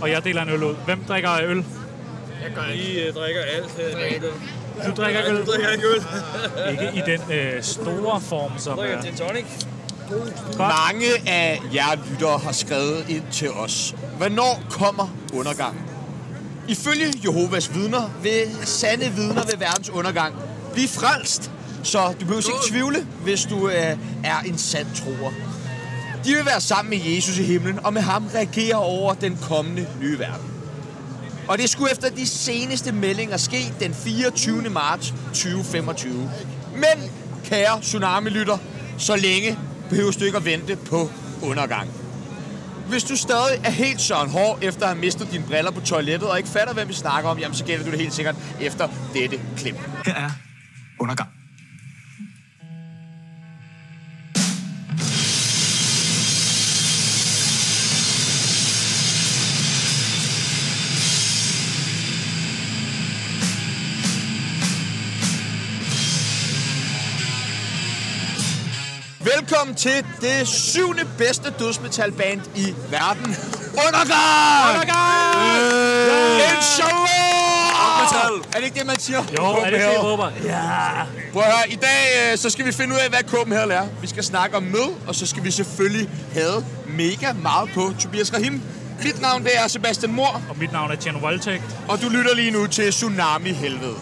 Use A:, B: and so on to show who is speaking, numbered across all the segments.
A: og jeg deler en øl ud. Hvem drikker øl?
B: Jeg gør I øh, drikker alt her i dag.
A: Du drikker ikke
B: Jeg
A: øl.
B: drikker ikke øl.
A: Ikke i den øh, store form, som øh,
B: drikker
A: er.
B: gin tonic.
C: Mange af jer lyttere har skrevet ind til os. Hvornår kommer undergang? Ifølge Jehovas vidner vil sande vidner ved verdens undergang blive frelst. Så du behøver ikke tvivle, hvis du øh, er en sand troer. De vil være sammen med Jesus i himlen, og med ham reagere over den kommende nye verden. Og det skulle efter de seneste meldinger ske den 24. marts 2025. Men, kære tsunami-lytter, så længe behøver du ikke at vente på undergang. Hvis du stadig er helt Søren Hård efter at have mistet dine briller på toilettet og ikke fatter, hvem vi snakker om, jamen så gælder du det helt sikkert efter dette klip.
D: Her er undergang.
C: Velkommen til det syvende bedste dødsmetalband i verden. Undergang!
A: Undergang!
C: Øh, Inshallah!
B: Metal!
C: Er det ikke det, man siger?
A: Jo, er det ikke det, jeg håber?
C: Prøv at høre, i dag øh, så skal vi finde ud af, hvad Copenhagen er. Vi skal snakke om mød, og så skal vi selvfølgelig have mega meget på Tobias Rahim. Mit navn det er Sebastian Mor,
A: Og mit navn er Tjerno Voldtægt.
C: og du lytter lige nu til Tsunami Helvede.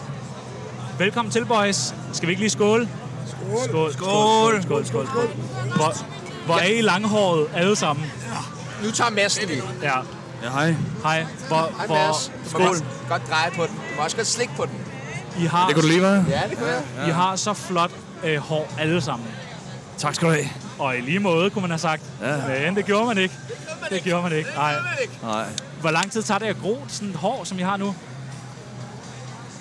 A: Velkommen til, boys. Skal vi ikke lige skåle? Skål. Skål. Skål. Skål. Skål. Skål. Hvor, hvor er I langhåret alle sammen?
C: Nu tager Mads den lige.
A: Ja.
D: Ja, hej.
A: Hej. Hvor,
C: Hej
A: hvor,
C: Mads. Du må godt, godt dreje på den. Du må også godt slikke på den.
A: I har,
D: Det kunne du lige være.
C: Ja, det kan jeg.
A: I har så flot øh, hår alle sammen.
D: Tak skal du have.
A: Og i lige måde, kunne man have sagt. Ja. Men det gjorde man ikke. Det gjorde man ikke. Nej.
D: Nej.
A: Hvor lang tid tager det at gro sådan et hår, som I har nu?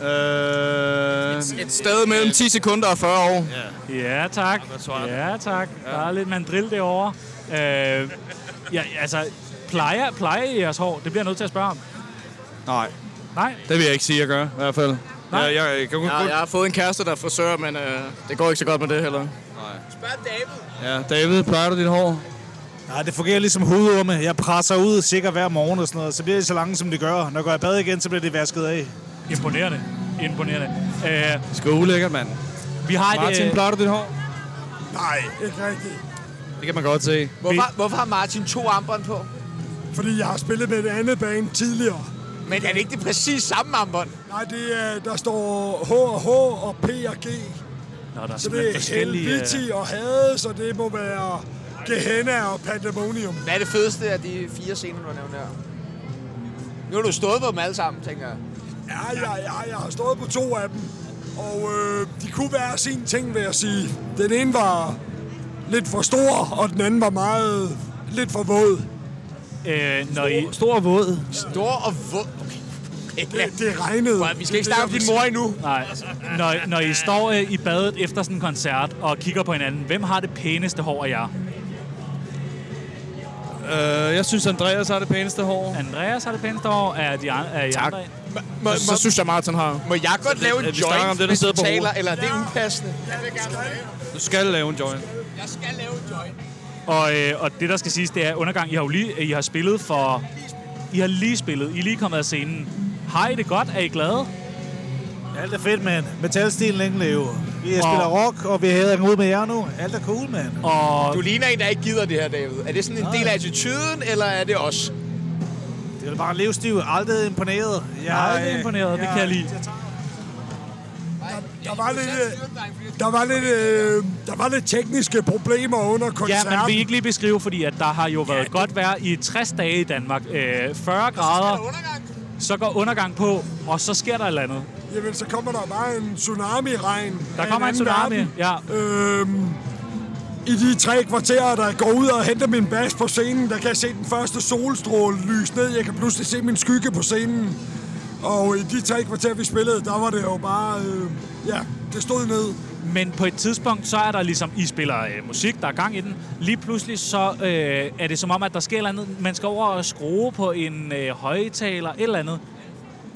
D: Øh,
E: Et sted mellem 10 sekunder og 40 år.
A: Ja, tak. Ja, tak. Der er lidt mandril derovre. Øh, ja, altså, plejer, plejer I jeres hår? Det bliver jeg nødt til at spørge om.
D: nej,
A: Nej,
D: det vil jeg ikke sige, jeg gør. I hvert fald.
A: Nej.
D: Jeg, jeg, jeg kan kun,
E: Ja, jeg har fået en kæreste, der er frisør, men øh, det går ikke så godt med det heller.
D: Ja, David, plejer du dit hår?
F: Nej, det fungerer ligesom hovedorme. Jeg presser ud sikkert hver morgen og sådan noget. Så bliver det så langt, som det gør. Når jeg går i bad igen, så bliver det vasket af.
A: imponerende. Imponerende. Øh,
D: Skal ulækkert, mand.
A: vi har et...
D: Martin,
A: øh,
D: plejer du dit hår? Nej, ikke rigtigt. Det kan man godt se.
C: Hvorfor, hvorfor har Martin to armbånd på?
G: Fordi jeg har spillet med et andet band tidligere.
C: Men er det ikke det præcis samme armbånd?
G: Nej, det er, der står H og H og P og G.
A: Nå, der er
G: Så
A: simpelthen
G: det er
A: forskellige... øh,
G: Helviti og Hades, så det må være Gehenna og Pandemonium.
C: Hvad er det fedeste af de fire scener, du har nævnt her? Nu har du stået på dem alle sammen, tænker jeg.
G: Ja, ja, ja, jeg har stået på to af dem. Og øh, de kunne være sin ting, vil jeg sige. Den ene var lidt for stor, og den anden var meget lidt for våd.
A: Øh, når I,
D: Stor våd.
C: Stor og våd. Okay.
G: Det, det regnede.
C: Prøv at- Vi skal ikke snakke om din mor endnu.
A: nej, når, når I står øh, i badet efter sådan en koncert og kigger på hinanden, hvem har det pæneste hår af jer?
D: Øh, jeg synes, Andreas har det pæneste hår.
A: Andreas har det pæneste hår, er de an- er I andre? en?
C: Må,
E: Så synes jeg, Martin har.
C: må jeg godt lave en
D: vi snakker
C: joint,
D: om det, der
C: hvis du
D: sidder på
C: taler,
D: hovedet.
C: eller er det upassende?
D: Du skal lave en joint.
C: Jeg skal lave en joint.
A: Og, øh, og det, der skal siges, det er undergang. I har jo lige I har spillet for... I har lige spillet. I er lige kommet af scenen. Har I det godt? Er I glade?
F: Alt er fedt, mand. Metalstil længe leve. Vi spiller rock, og vi hæder ud med jer nu. Alt er cool, mand.
A: Og
C: Du ligner en, der ikke gider det her, David. Er det sådan en del af attituden, eller er det os?
F: Det er bare en livsstil. Aldrig imponeret. Jeg,
A: Aldrig imponeret, det kan jeg lide.
G: Der var lidt, øh, der var lidt, øh, der var lidt tekniske problemer under
A: Ja,
G: koncerten.
A: man vil I ikke lige beskrive, fordi at der har jo været godt vejr i 60 dage i Danmark. Øh, 40 grader, så går undergang på, og så sker der et eller andet.
G: Jamen, så kommer der bare en tsunami-regn.
A: Der
G: af
A: kommer en
G: anden
A: tsunami.
G: verden.
A: Ja.
G: Øhm, I de tre kvarterer, der går ud og henter min bas på scenen, der kan jeg se den første solstråle lyse ned. Jeg kan pludselig se min skygge på scenen. Og i de tre kvarter, vi spillede, der var det jo bare... Øh, ja, det stod ned.
A: Men på et tidspunkt, så er der ligesom, I spiller øh, musik, der er gang i den. Lige pludselig, så øh, er det som om, at der sker et eller andet. Man skal over og skrue på en øh, højtaler, et eller andet.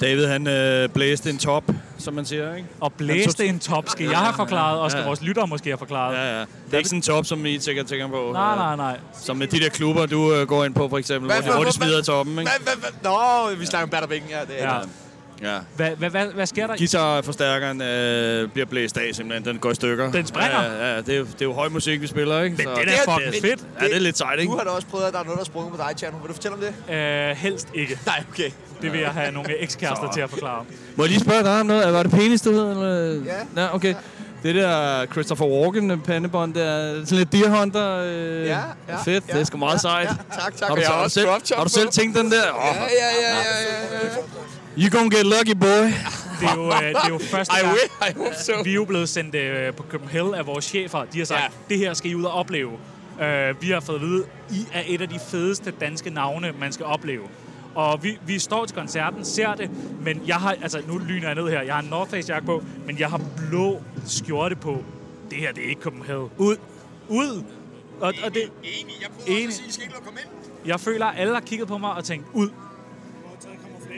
D: David, han øh, blæste en top, som man siger, ikke?
A: Og blæste en top, skal jeg have forklaret, og skal
D: Ja.
A: vores lyttere måske have forklaret.
D: Ja, ja. Det er ikke sådan en top, som I sikkert tænker på.
A: Nej,
D: øh,
A: nej, nej.
D: Som med de der klubber, du øh, går ind på, for eksempel, hvor de, hvor de smider toppen, ikke?
C: Hvad, hvad, hvad? Nå, vi snakker om batterbækken. Ja, det er
A: Ja.
C: ja.
D: Ja.
A: Hvad, hvad, hvad, hvad sker der?
D: Guitarforstærkeren øh, bliver blæst af simpelthen. Den går i stykker.
A: Den springer.
D: Ja, ja, ja. det, er, jo- det er jo høj musik, vi spiller, ikke? Men
A: det er da fucking fedt.
D: Ja, det er lidt sejt, ikke?
C: Du har da også prøvet, at der er noget, der er sprunget på dig, Tjerno. Vil du fortælle om det?
A: Øh, helst ikke.
C: Nej, okay.
A: Det vil jeg have nogle ekskærester til at forklare.
D: Må jeg lige spørge dig om noget? Er- Var det penis, det hed? Eller?
C: Ja.
D: ja. okay. Det der Christopher Walken pandebånd, der er sådan lidt Deer Hunter. Øh,
C: Ja, ja,
D: Fedt, det er sgu meget sejt.
C: Tak, tak.
D: Har du,
C: Jeg
D: så-
C: har
D: har, du
C: også
D: selv,
C: crop top
D: har du
C: på.
D: selv tænkt den der? Oh,
C: Ja, ja, ja, ja, ja, ja.
D: you gonna get lucky, boy.
A: Det er jo, øh, det er jo første
E: I,
A: gang,
E: will, I hope so.
A: vi er jo blevet sendt øh, på Copenhagen af vores chefer. De har sagt,
E: Ja.
A: det her skal I ud og opleve. Øh, vi har fået at vide, I er et af de fedeste danske navne, man skal opleve. Og vi, vi står til koncerten, ser det, men jeg har, altså nu lyner jeg ned her, jeg har en North Face jakke på, men jeg har blå skjorte på. Det her, det er ikke Copenhagen. Ud! Ud! Og, og det,
C: Enig, jeg prøver
A: Enig.
C: I skal ikke lukke komme ind.
A: jeg føler, at alle har kigget på mig og tænkt, ud!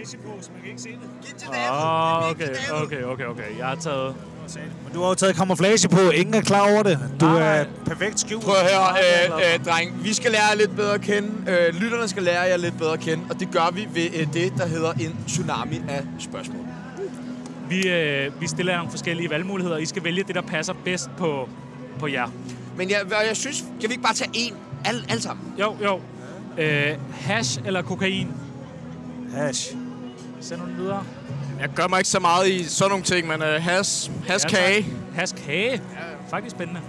C: Giv til
A: Åh, Ah, okay, okay, okay, okay. Jeg har taget...
F: Men du har jo taget kamuflage på. Ingen er klar over det. Du
A: Nej, nej.
F: er perfekt skjult.
C: Prøv at høre, øh, øh, dreng. Vi skal lære jer lidt bedre at kende. Øh, lytterne skal lære jer lidt bedre at kende. Og det gør vi ved øh, det, der hedder en tsunami af spørgsmål.
A: Vi, øh, vi stiller jer nogle forskellige valgmuligheder. I skal vælge det, der passer bedst på, på jer.
C: Men jeg, og jeg synes, kan vi ikke bare tage en? Alle, alle sammen.
A: Jo, jo. Øh, hash eller kokain?
F: Hash.
A: Send den videre.
E: Jeg gør mig ikke så meget i sådan nogle ting, men uh, has, has
A: Ja, tak.
E: kage.
A: Hash kage. Faktisk spændende.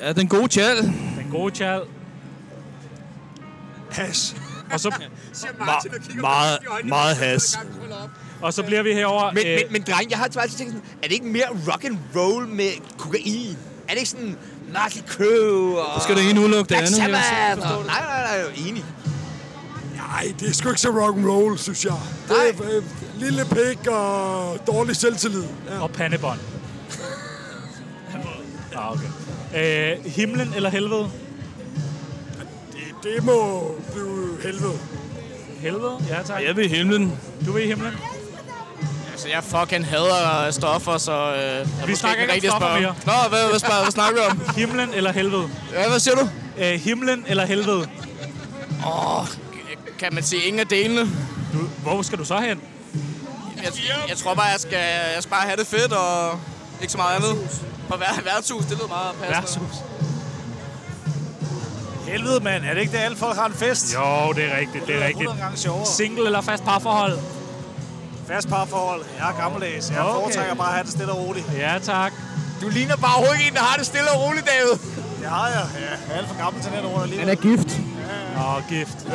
D: Ja, den gode tjal.
A: Den gode tjal.
F: Hash.
A: Og så,
D: Meget, meget has.
A: og så bliver vi herover.
E: Øh.
A: øh,
C: Men, men, men dreng, jeg har altid tænkt sådan, er det ikke mere rock and roll med kokain? Er det ikke sådan Nazi Crew og...
D: Skal det ene udelukke det
C: Black
D: andet? jo?
C: Sabbath? Og, nej, nej, nej, jeg er enig.
G: Nej, det er sgu ikke så rock'n'roll, synes jeg. Det er øh, lille pik og dårlig selvtillid. Ja.
A: og pandebånd. ah, okay. Øh, himlen eller helvede?
G: Det, det må blive helvede.
A: Helvede? Ja, tak.
D: Jeg vil i himlen.
A: Du vil i himlen?
E: Altså, jeg fucking hader stoffer, så... Uh, vi
A: snakker ikke om stoffer mere.
E: Nå, hvad, hvad, spørger, hvad snakker vi om?
A: Himlen eller helvede?
E: Ja, hvad siger du?
A: Øh, himlen eller helvede?
E: Kan man se ingen af delene?
A: Du, hvor skal du så hen?
E: Jeg, jeg tror bare, jeg skal, jeg skal bare have det fedt og ikke så meget andet. På hver, værtshus, det lyder meget passende.
A: Værtshus.
F: Helvede, mand. Er det ikke det, alle folk har en
A: øh.
F: fest?
A: Jo, det er rigtigt, det er rigtigt.
F: 100 gange sjovere.
A: Single eller fast parforhold?
F: Fast parforhold. Jeg er gammeldags. Jeg
A: Okay.
F: foretrækker bare at have det stille og roligt.
A: Ja, tak.
C: Du ligner bare overhovedet ikke en, der har det stille og roligt, David.
F: Det har jeg. Jeg er alt for gammel til den rundt alligevel.
A: Åh, gift.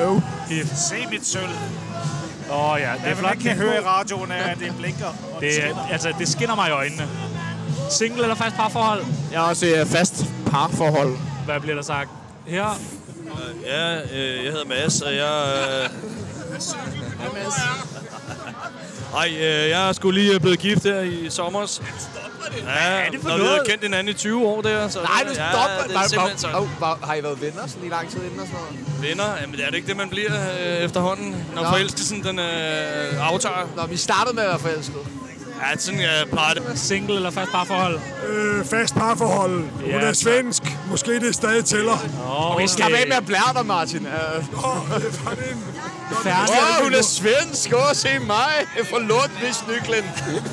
A: Gift.
F: Se mit sølv.
A: Åh ja, det
F: Det
A: er
F: er
A: flot.
F: ikke kan høre i radioen, er, at det blinker. og
A: Det,
F: skinner.
A: er- altså, det skinner mig i øjnene. Single eller fast parforhold?
E: Jeg er også i øh, fast parforhold.
A: Hvad bliver der sagt? Her.
D: Ja, øh, jeg hedder Mads, og jeg... Øh... Ej, øh, jeg er sgu lige øh, blevet gift her i sommer. Ja,
A: er det for
D: når vi har
A: noget?
D: kendt hinanden i 20 år der, så...
C: Nej, du
D: ja,
C: stopper.
D: det er
C: Var- var-
D: simpelthen sådan.
C: Au, var- Har I været venner så lige lang tid inden og sådan noget?
D: Venner, jamen er det ikke det, man bliver øh, efterhånden, når
C: Nå.
D: forelskelsen den øh, aftager?
C: Nå, vi startede med at være forelskede.
D: Ja, sådan øh, plejer det.
A: Single eller fast parforhold?
G: Øh, fast parforhold. Hun
A: Ja,
G: er
A: tak.
G: svensk. Måske det stadig tæller.
A: Oh, okay.
C: Slap af med at blære dig, Martin. Altså, Øh,
G: Åh, det var det en-
A: Fernet,
C: Åh, hun er svensk. Åh, se mig. Fra Lund, hvis Nyklen.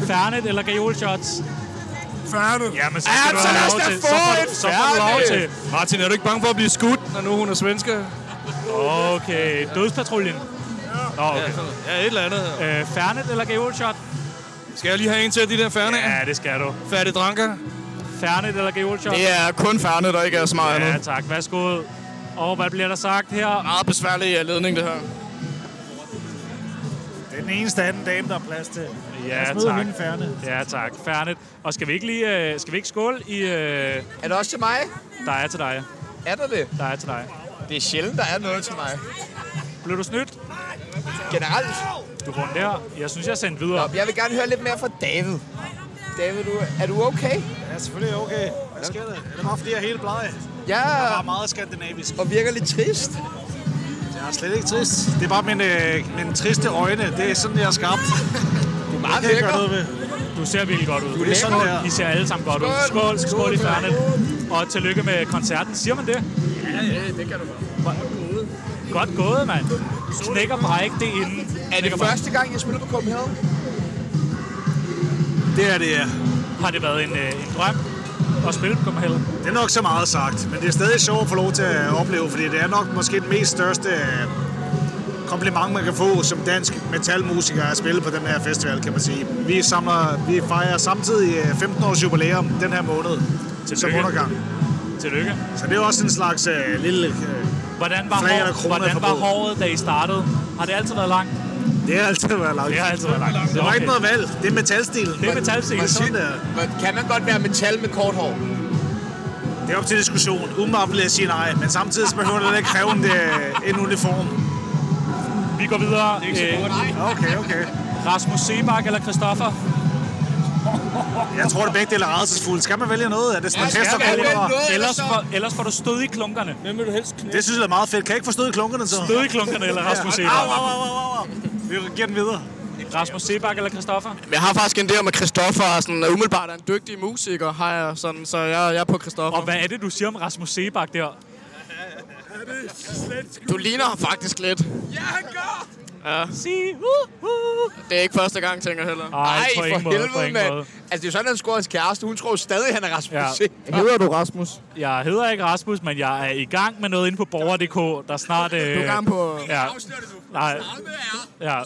A: Fernet eller gajolshots?
G: Færdig.
A: Jamen, så
C: Ja, så Altså, lad os
A: Så
C: da få
A: får,
C: et
A: du- så får du lov
C: Fernet.
A: til.
D: Martin, er du ikke bange for at blive skudt, når nu hun er svensker?
A: Okay, dødspatruljen. Nå, okay.
D: Ja, et eller andet.
A: Øh, Fernet eller gajolshot?
D: Skal jeg lige have en til af de der færne? Ja.
A: Ja, det skal du.
D: Færdig dranker?
A: Fernet eller gajolshot?
E: Det er kun færne, der ikke er så meget
A: Ja,
E: andet.
A: tak. Værsgo. Og hvad bliver der sagt her?
E: Meget besværlig øh, ledning, det her.
F: Det er den eneste anden dame, der er plads til.
A: Ja,
F: Smid
A: tak.
F: hende færne.
A: Ja, tak. Fernet. Og skal vi ikke lige øh, skal vi ikke skåle i... Øh,
C: Er det også til mig?
A: der er til dig.
C: Er der det?
A: Der er til dig.
C: Det er sjældent, der er noget til mig.
A: Blev du snydt?
C: Generelt.
A: Du får den der. Jeg synes, jeg er sendt
C: Nå,
A: videre.
C: jeg vil gerne høre lidt mere fra David. David, du, er du okay?
F: Ja, selvfølgelig okay. Hvad sker der? Er det bare fordi, jeg er helt bleg?
C: Ja,
F: Jeg er meget skandinavisk.
C: og virker lidt trist.
F: Jeg er slet ikke trist. Det er bare mine, øh, mine triste øjne. Det er sådan, jeg er skabt.
C: Du er meget
F: Det kan jeg ikke
C: lækker.
F: gøre noget ved.
A: Du ser virkelig godt ud.
F: Du er sådan der.
A: I ser alle sammen godt ud. Skål, skål, skål i færnet. Og tillykke med koncerten. Siger man det?
B: Ja, ja, det kan du bare.
A: Godt gået, mand. Knæk og bræk det inden.
C: Er det første gang, jeg spiller på Copenhagen?
F: Det er det, ja.
A: Har det været en, øh, en drøm at spille på Copenhagen?
F: Det er nok så meget sagt, men det er stadig sjovt at få lov til at opleve, fordi det er nok måske den mest største øh, kompliment, man kan få som dansk metalmusiker at spille på den her festival, kan man sige. Vi, samler, vi fejrer samtidig øh, 15 års jubilæum den her måned som
A: Tillykke.
F: undergang.
A: Tillykke.
F: Så det er også en slags øh, lille... Øh,
A: Hvordan var,
F: Flag
A: hår,
F: eller krone er
A: hvordan var
F: forbudt.
A: håret, da I startede? Har det altid været langt?
F: det har altid været langt.
A: Det har altid været langt.
F: Der var
A: Okay.
F: ikke noget valg. Det er metalstilen.
A: Det er metalstilen.
F: Man siger det.
C: Men Kan man godt være metal med kort hår?
F: Det er op til diskussion. Umiddelbart vil jeg sige nej, men samtidig så behøver det heller ikke kræve en, øh, en uniform.
A: Vi går videre. Øh,
F: Okay, okay.
A: Rasmus Sebak eller Christoffer?
F: Jeg tror, det begge dele er rædselsfulde. Skal man vælge noget? Er det sådan en fest, der
C: skal man vælge
F: kommer?
C: noget,
A: Ellers,
C: så-
A: får, ellers får du stød i klunkerne.
B: Hvem vil du helst knække?
F: Det synes jeg er meget fedt. Kan jeg ikke forstå klunkerne så?
A: Stød i klunkerne eller Rasmus
F: Au,
A: Sebak?
F: au, au, au, au. Vi giver den videre.
A: Rasmus Sebak eller Christoffer?
E: Men jeg har faktisk en der med Christoffer, og sådan, umiddelbart er en dygtig musiker, har jeg sådan, så jeg, jeg er på Christoffer.
A: Og hvad er det, du siger om Rasmus Sebak der?
E: Du ligner ham faktisk lidt.
A: Sig, uh, uh.
E: Det er ikke første gang, tænker jeg heller.
A: Ej,
C: Ej,
A: på
C: for
A: ingen måde, på
C: helvede,
A: ingen
C: mand.
A: måde.
C: Altså, det er jo sådan, at han scorer hans kæreste. Hun tror jo stadig, han er Rasmus.
A: Ja.
C: Ja.
E: Hedder du Rasmus?
A: Jeg hedder ikke Rasmus, men jeg er i gang med noget inde på borger.dk, der snart... Øh,
E: Du er gang på...
A: Ja. Nej. Ja.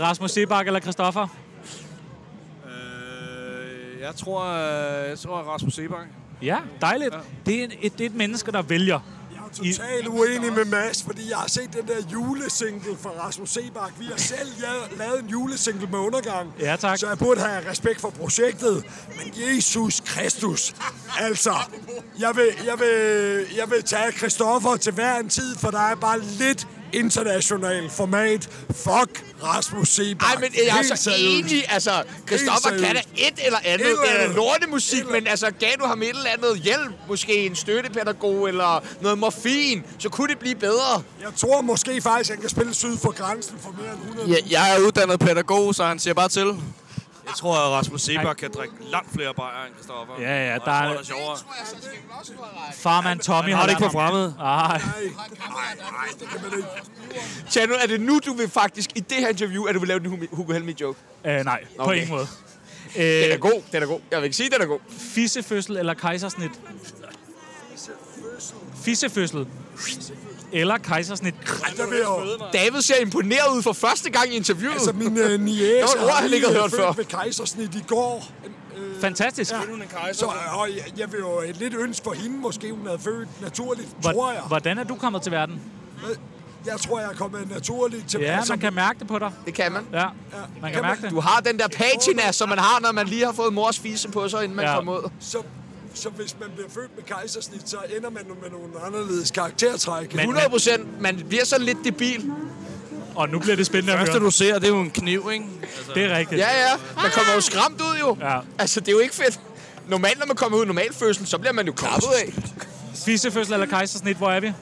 A: Rasmus Sebak eller Christoffer?
D: Øh, jeg tror, øh, jeg tror Rasmus Sebak.
A: Ja, dejligt. Det er, en, et, det er et menneske, der vælger.
G: Jeg er totalt uenig med Mads, fordi jeg har set den der julesingle fra Rasmus Sebak. Vi har selv ja- lavet en julesingle med undergang.
A: Ja, tak.
G: Så jeg burde have respekt for projektet. Men Jesus Kristus, altså, jeg vil, jeg vil, jeg vil tage Christoffer til hver en tid, for der er bare lidt international format. Fuck Rasmus Sebak.
C: Ej, men øh, jeg er
G: Helt
C: så
G: seriøst.
C: enig. Altså, Christoffer
G: seriøst.
C: kan da et eller andet.
G: Et eller
C: Det er da
G: andet. Et
C: lortemusik,
G: eller
C: men altså, gav du ham et eller andet hjælp? Måske en støttepædagog eller noget morfin, så kunne det blive bedre.
G: Jeg tror måske faktisk, han kan spille syd for grænsen for mere end 100.
E: Jeg, jeg er uddannet pædagog, så han siger bare til.
D: Jeg tror, at Rasmus Sebak kan drikke langt flere bajere end Christoffer.
A: Ja, ja,
D: Og
A: der
D: jeg
A: er-
D: tror, det er sjovere.
A: Farmand Tommy har det ikke for fremmed. Nej.
G: Nej, det kan man ikke.
C: Tjano, er det nu, du vil faktisk, i det her interview, at du vil lave den Humi- Hugo Helmi-joke?
A: Øh, nej, okay. på
C: Okay.
A: ingen måde.
C: Den
A: Øh,
C: er god, den er god. Jeg vil ikke sige, den er god.
A: fissefødsel eller kejsersnit? Fissefødsel. Eller kejsersnit.
G: Der vil jeg
C: David ser imponeret ud for første gang i interviewet.
G: Altså, min øh,
C: Det var
G: niæse
C: et ord, han ikke havde hørt før.
G: øh, ved kejsersnit i går.
A: Fantastisk.
G: Så øh, og jeg, jeg vil jo øh, lidt ønske for hende, måske hun havde født naturligt, Hvor, tror jeg.
A: Hvor, hvordan er du kommet til verden?
G: Jeg tror, jeg er kommet naturligt til
A: Ja,
G: altså,
A: man kan mærke det på dig.
C: Det kan man.
A: Ja, man kan
G: Kan
A: mærke det.
C: Du har den der patina, som man har, når man lige har fået mors fise på sig, inden man
A: Ja.
C: ja. kommer ud.
G: Så, så hvis man bliver født med kejsersnit, så ender man med nogle anderledes karaktertræk.
A: Men-
C: 100 procent. Man bliver sådan lidt debil.
A: Og nu bliver det spændende at
D: Første,
A: høre.
D: du ser, det er jo en kniv, ikke?
A: Det er rigtigt.
C: Ja, ja. Man kommer jo skræmt ud, jo.
A: Ja.
C: Altså, det er jo ikke fedt. Normalt, når man kommer ud i normalfødsel, så bliver man jo klappet af.
A: Fissefødsel eller kejsersnit, hvor er vi?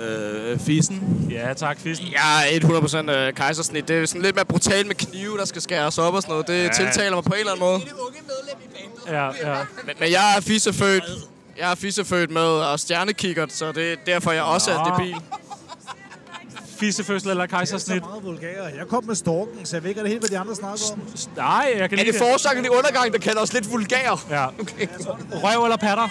D: Øh, fissen.
A: Ja, tak, Fissen.
E: Jeg er 100% øh, kejsersnit. Det er sådan lidt mere brutalt med knive, der skal skæres op og sådan noget. Det ja. tiltaler mig på en eller anden måde.
A: Ja, ja.
E: Men, men jeg er fissefødt. Jeg er fissefødt med og stjernekikkert, så det er derfor, jeg også er debil.
A: Fissefødsel eller kejsersnit?
F: meget vulgære. Jeg kom med storken, så jeg ved ikke, det helt, hvad de andre snakker om.
A: Nej, jeg kan
C: Er
A: lide
C: det forsanger i undergang, der kalder os lidt vulgære?
A: Ja. Røv eller patter?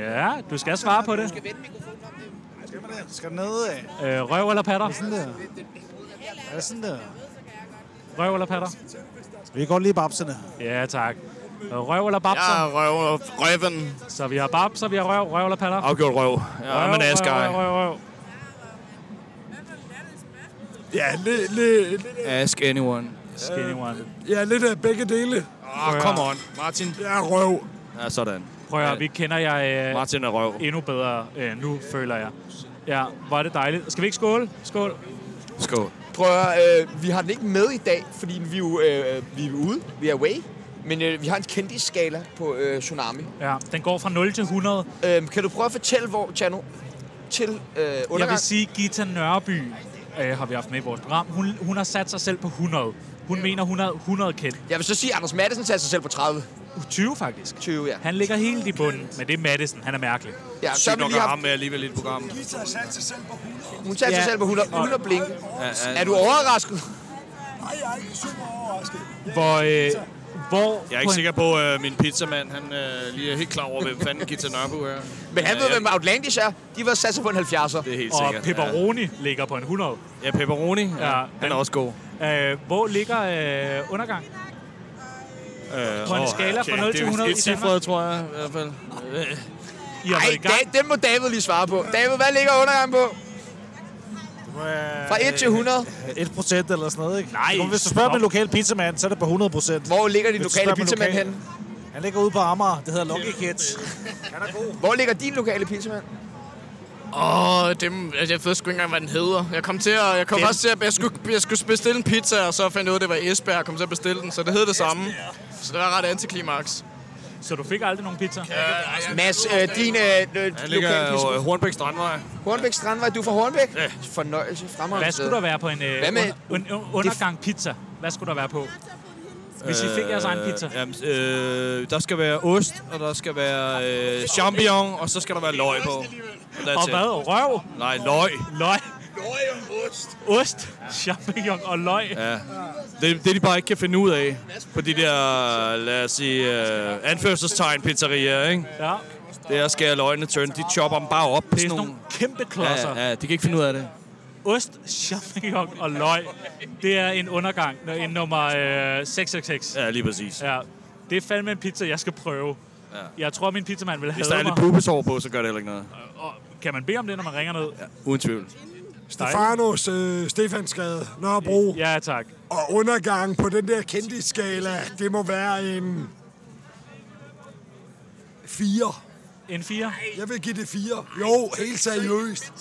A: Ja, du skal svare på det.
F: Skal man det? Skal den ned af?
A: Øh, røv eller patter?
F: Sådan der. Er det sådan der?
A: Røv eller patter?
F: Vi kan godt lide babserne.
A: Ja, tak. Øh, Røv eller babser?
E: Jeg er røv, røven.
A: Så vi har babser, vi har røv, røv eller patter?
D: Afgjort røv. Ja,
A: Røv,
D: men
A: røv,
D: Asger.
A: røv, røv, røv.
G: Ja, lidt, lidt, lidt,
D: Ask anyone.
A: Skinny one.
G: ja, lidt af begge dele.
D: Oh, come on. Martin.
G: Det er røv.
D: Ja, sådan.
A: Prøv at høre, vi kender jer øh,
D: Martin er røv.
A: endnu bedre øh, nu, føler jeg. Ja, hvor er det dejligt. Skal vi ikke skåle? Skål.
D: Skål.
C: Prøv at høre, øh, vi har den ikke med i dag, fordi vi er jo øh, vi er ude. Vi er away. Men øh, vi har en kendisskala på øh, Tsunami.
A: Ja, den går fra 0 til 100.
C: Øh, kan du prøve at fortælle, hvor Tjano til øh, undergang?
A: Jeg vil sige, Gita Nørreby øh, har vi haft med i vores program. Hun, hun har sat sig selv på 100. Hun mener, hun er 100 kendt.
C: Jeg vil så sige, at Anders Madsen tager sig selv på 30.
A: 20 faktisk.
C: 20, ja.
A: Han ligger helt i bunden, men det er Madison. Han er mærkelig.
C: ja så
D: Sygt
C: vil
D: nok
C: vi
D: at
C: have,
D: ham med alligevel i et program.
G: Gita satte sig selv på 100.
C: hun tager sig
A: Ja.
C: selv på 100, uden at blinke.
D: Ja,
C: Er du overrasket?
G: Nej, jeg er ikke super overrasket. Jeg-
A: Hvor, øh, hvor
D: Jeg er ikke sikker på, at øh, min pizzamand han, øh, lige er helt klar over, hvem fanden Gita Nørbo er.
C: Men han
D: Ja,
C: ved,
D: ja.
C: hvem Outlandish er. De var sat sig på en 70'er.
D: Det er helt
A: Og
D: sikkert.
A: pepperoni ja. ligger på en 100.
D: Ja, ja pepperoni. Ja,
A: Ja,
D: ja, han
A: han-
D: er også god.
A: Øh, hvor ligger øh, undergang?
D: Øh,
A: På en skala fra 0 til 100 i
D: et cifret, tror jeg i hvert fald. Øh,
A: I har været
C: Ej,
A: i gang.
C: da, den må David lige svare på. David, hvad ligger undergang på? Fra
F: Øh,
C: 1 til 100.
H: 1 procent eller sådan noget, ikke?
A: Nej,
H: Kom, Hvis du spørger
A: stop.
H: min lokale pizzamand, så er det på 100 procent.
C: Hvor ligger din
H: Hvis du
C: lokale
H: spørger på
C: pizzamand
H: lokal-
C: henne?
H: Han ligger ude på Amager. Det hedder Lucky Kids.
C: Hvor ligger din lokale pizzamand?
E: Åh, oh, dem, altså, jeg ved sgu ikke engang, hvad den hedder. Jeg kom, til at, jeg kom også til, at jeg skulle, jeg skulle bestille en pizza, og så fandt jeg ud af, at det var Esbjerg, og kom til at bestille den, så det hed det samme. Så det var ret antiklimaks.
A: Så du fik aldrig nogen pizza? Ja.
C: Mads, øh, din øh, øh,
D: han
C: lokale
D: ligger jo
C: pizzamand.
D: øh, Hornbæk Strandvej.
C: Hornbæk Strandvej, du er fra Hornbæk?
D: Ja.
C: Fornøjelse, fremragende
A: Hvad skulle der være på en øh,
C: Hvad med-
A: under, un, un, undergang pizza? Hvad skulle der være på? Hvis I fik jeres egen pizza.
D: Øh, jamen, øh, der skal være ost, og der skal være øh, champignon, og så skal der være løg på. That's
A: Og
D: it.
A: hvad? Røv?
D: Nej, løg.
A: Løg? Løg og ost. Ost, champignon og løg. Ja.
D: Det, det, de bare ikke kan finde ud af på de der, lad os sige, øh, anførselstegn pizzerier, ikke?
A: ja.
D: Det er at skære løgene tønd. De chopper dem bare op.
A: Det er sådan nogle kæmpe klodser.
D: Ja, ja, de kan ikke finde ud af det.
A: Ost, champignon og løg. Det er en undergang. Nå, En nummer øh, 666.
D: Ja, lige præcis.
A: Ja. Det er fandme en pizza, jeg skal prøve. Ja. Jeg tror, min pizzamand vil
D: Hvis der er
A: have
D: lidt
A: mig.
D: pubesår på, så gør det heller ikke noget.
A: Og kan man bede om det, når man ringer ned?
D: Uden tvivl.
G: Stefanos, øh, Stefansgade, Nørrebro
A: Ja, tak.
G: og undergang på den der kendtiskala, det må være en... 4.
A: En 4?
G: Jeg vil give det 4. Jo, helt seriøst.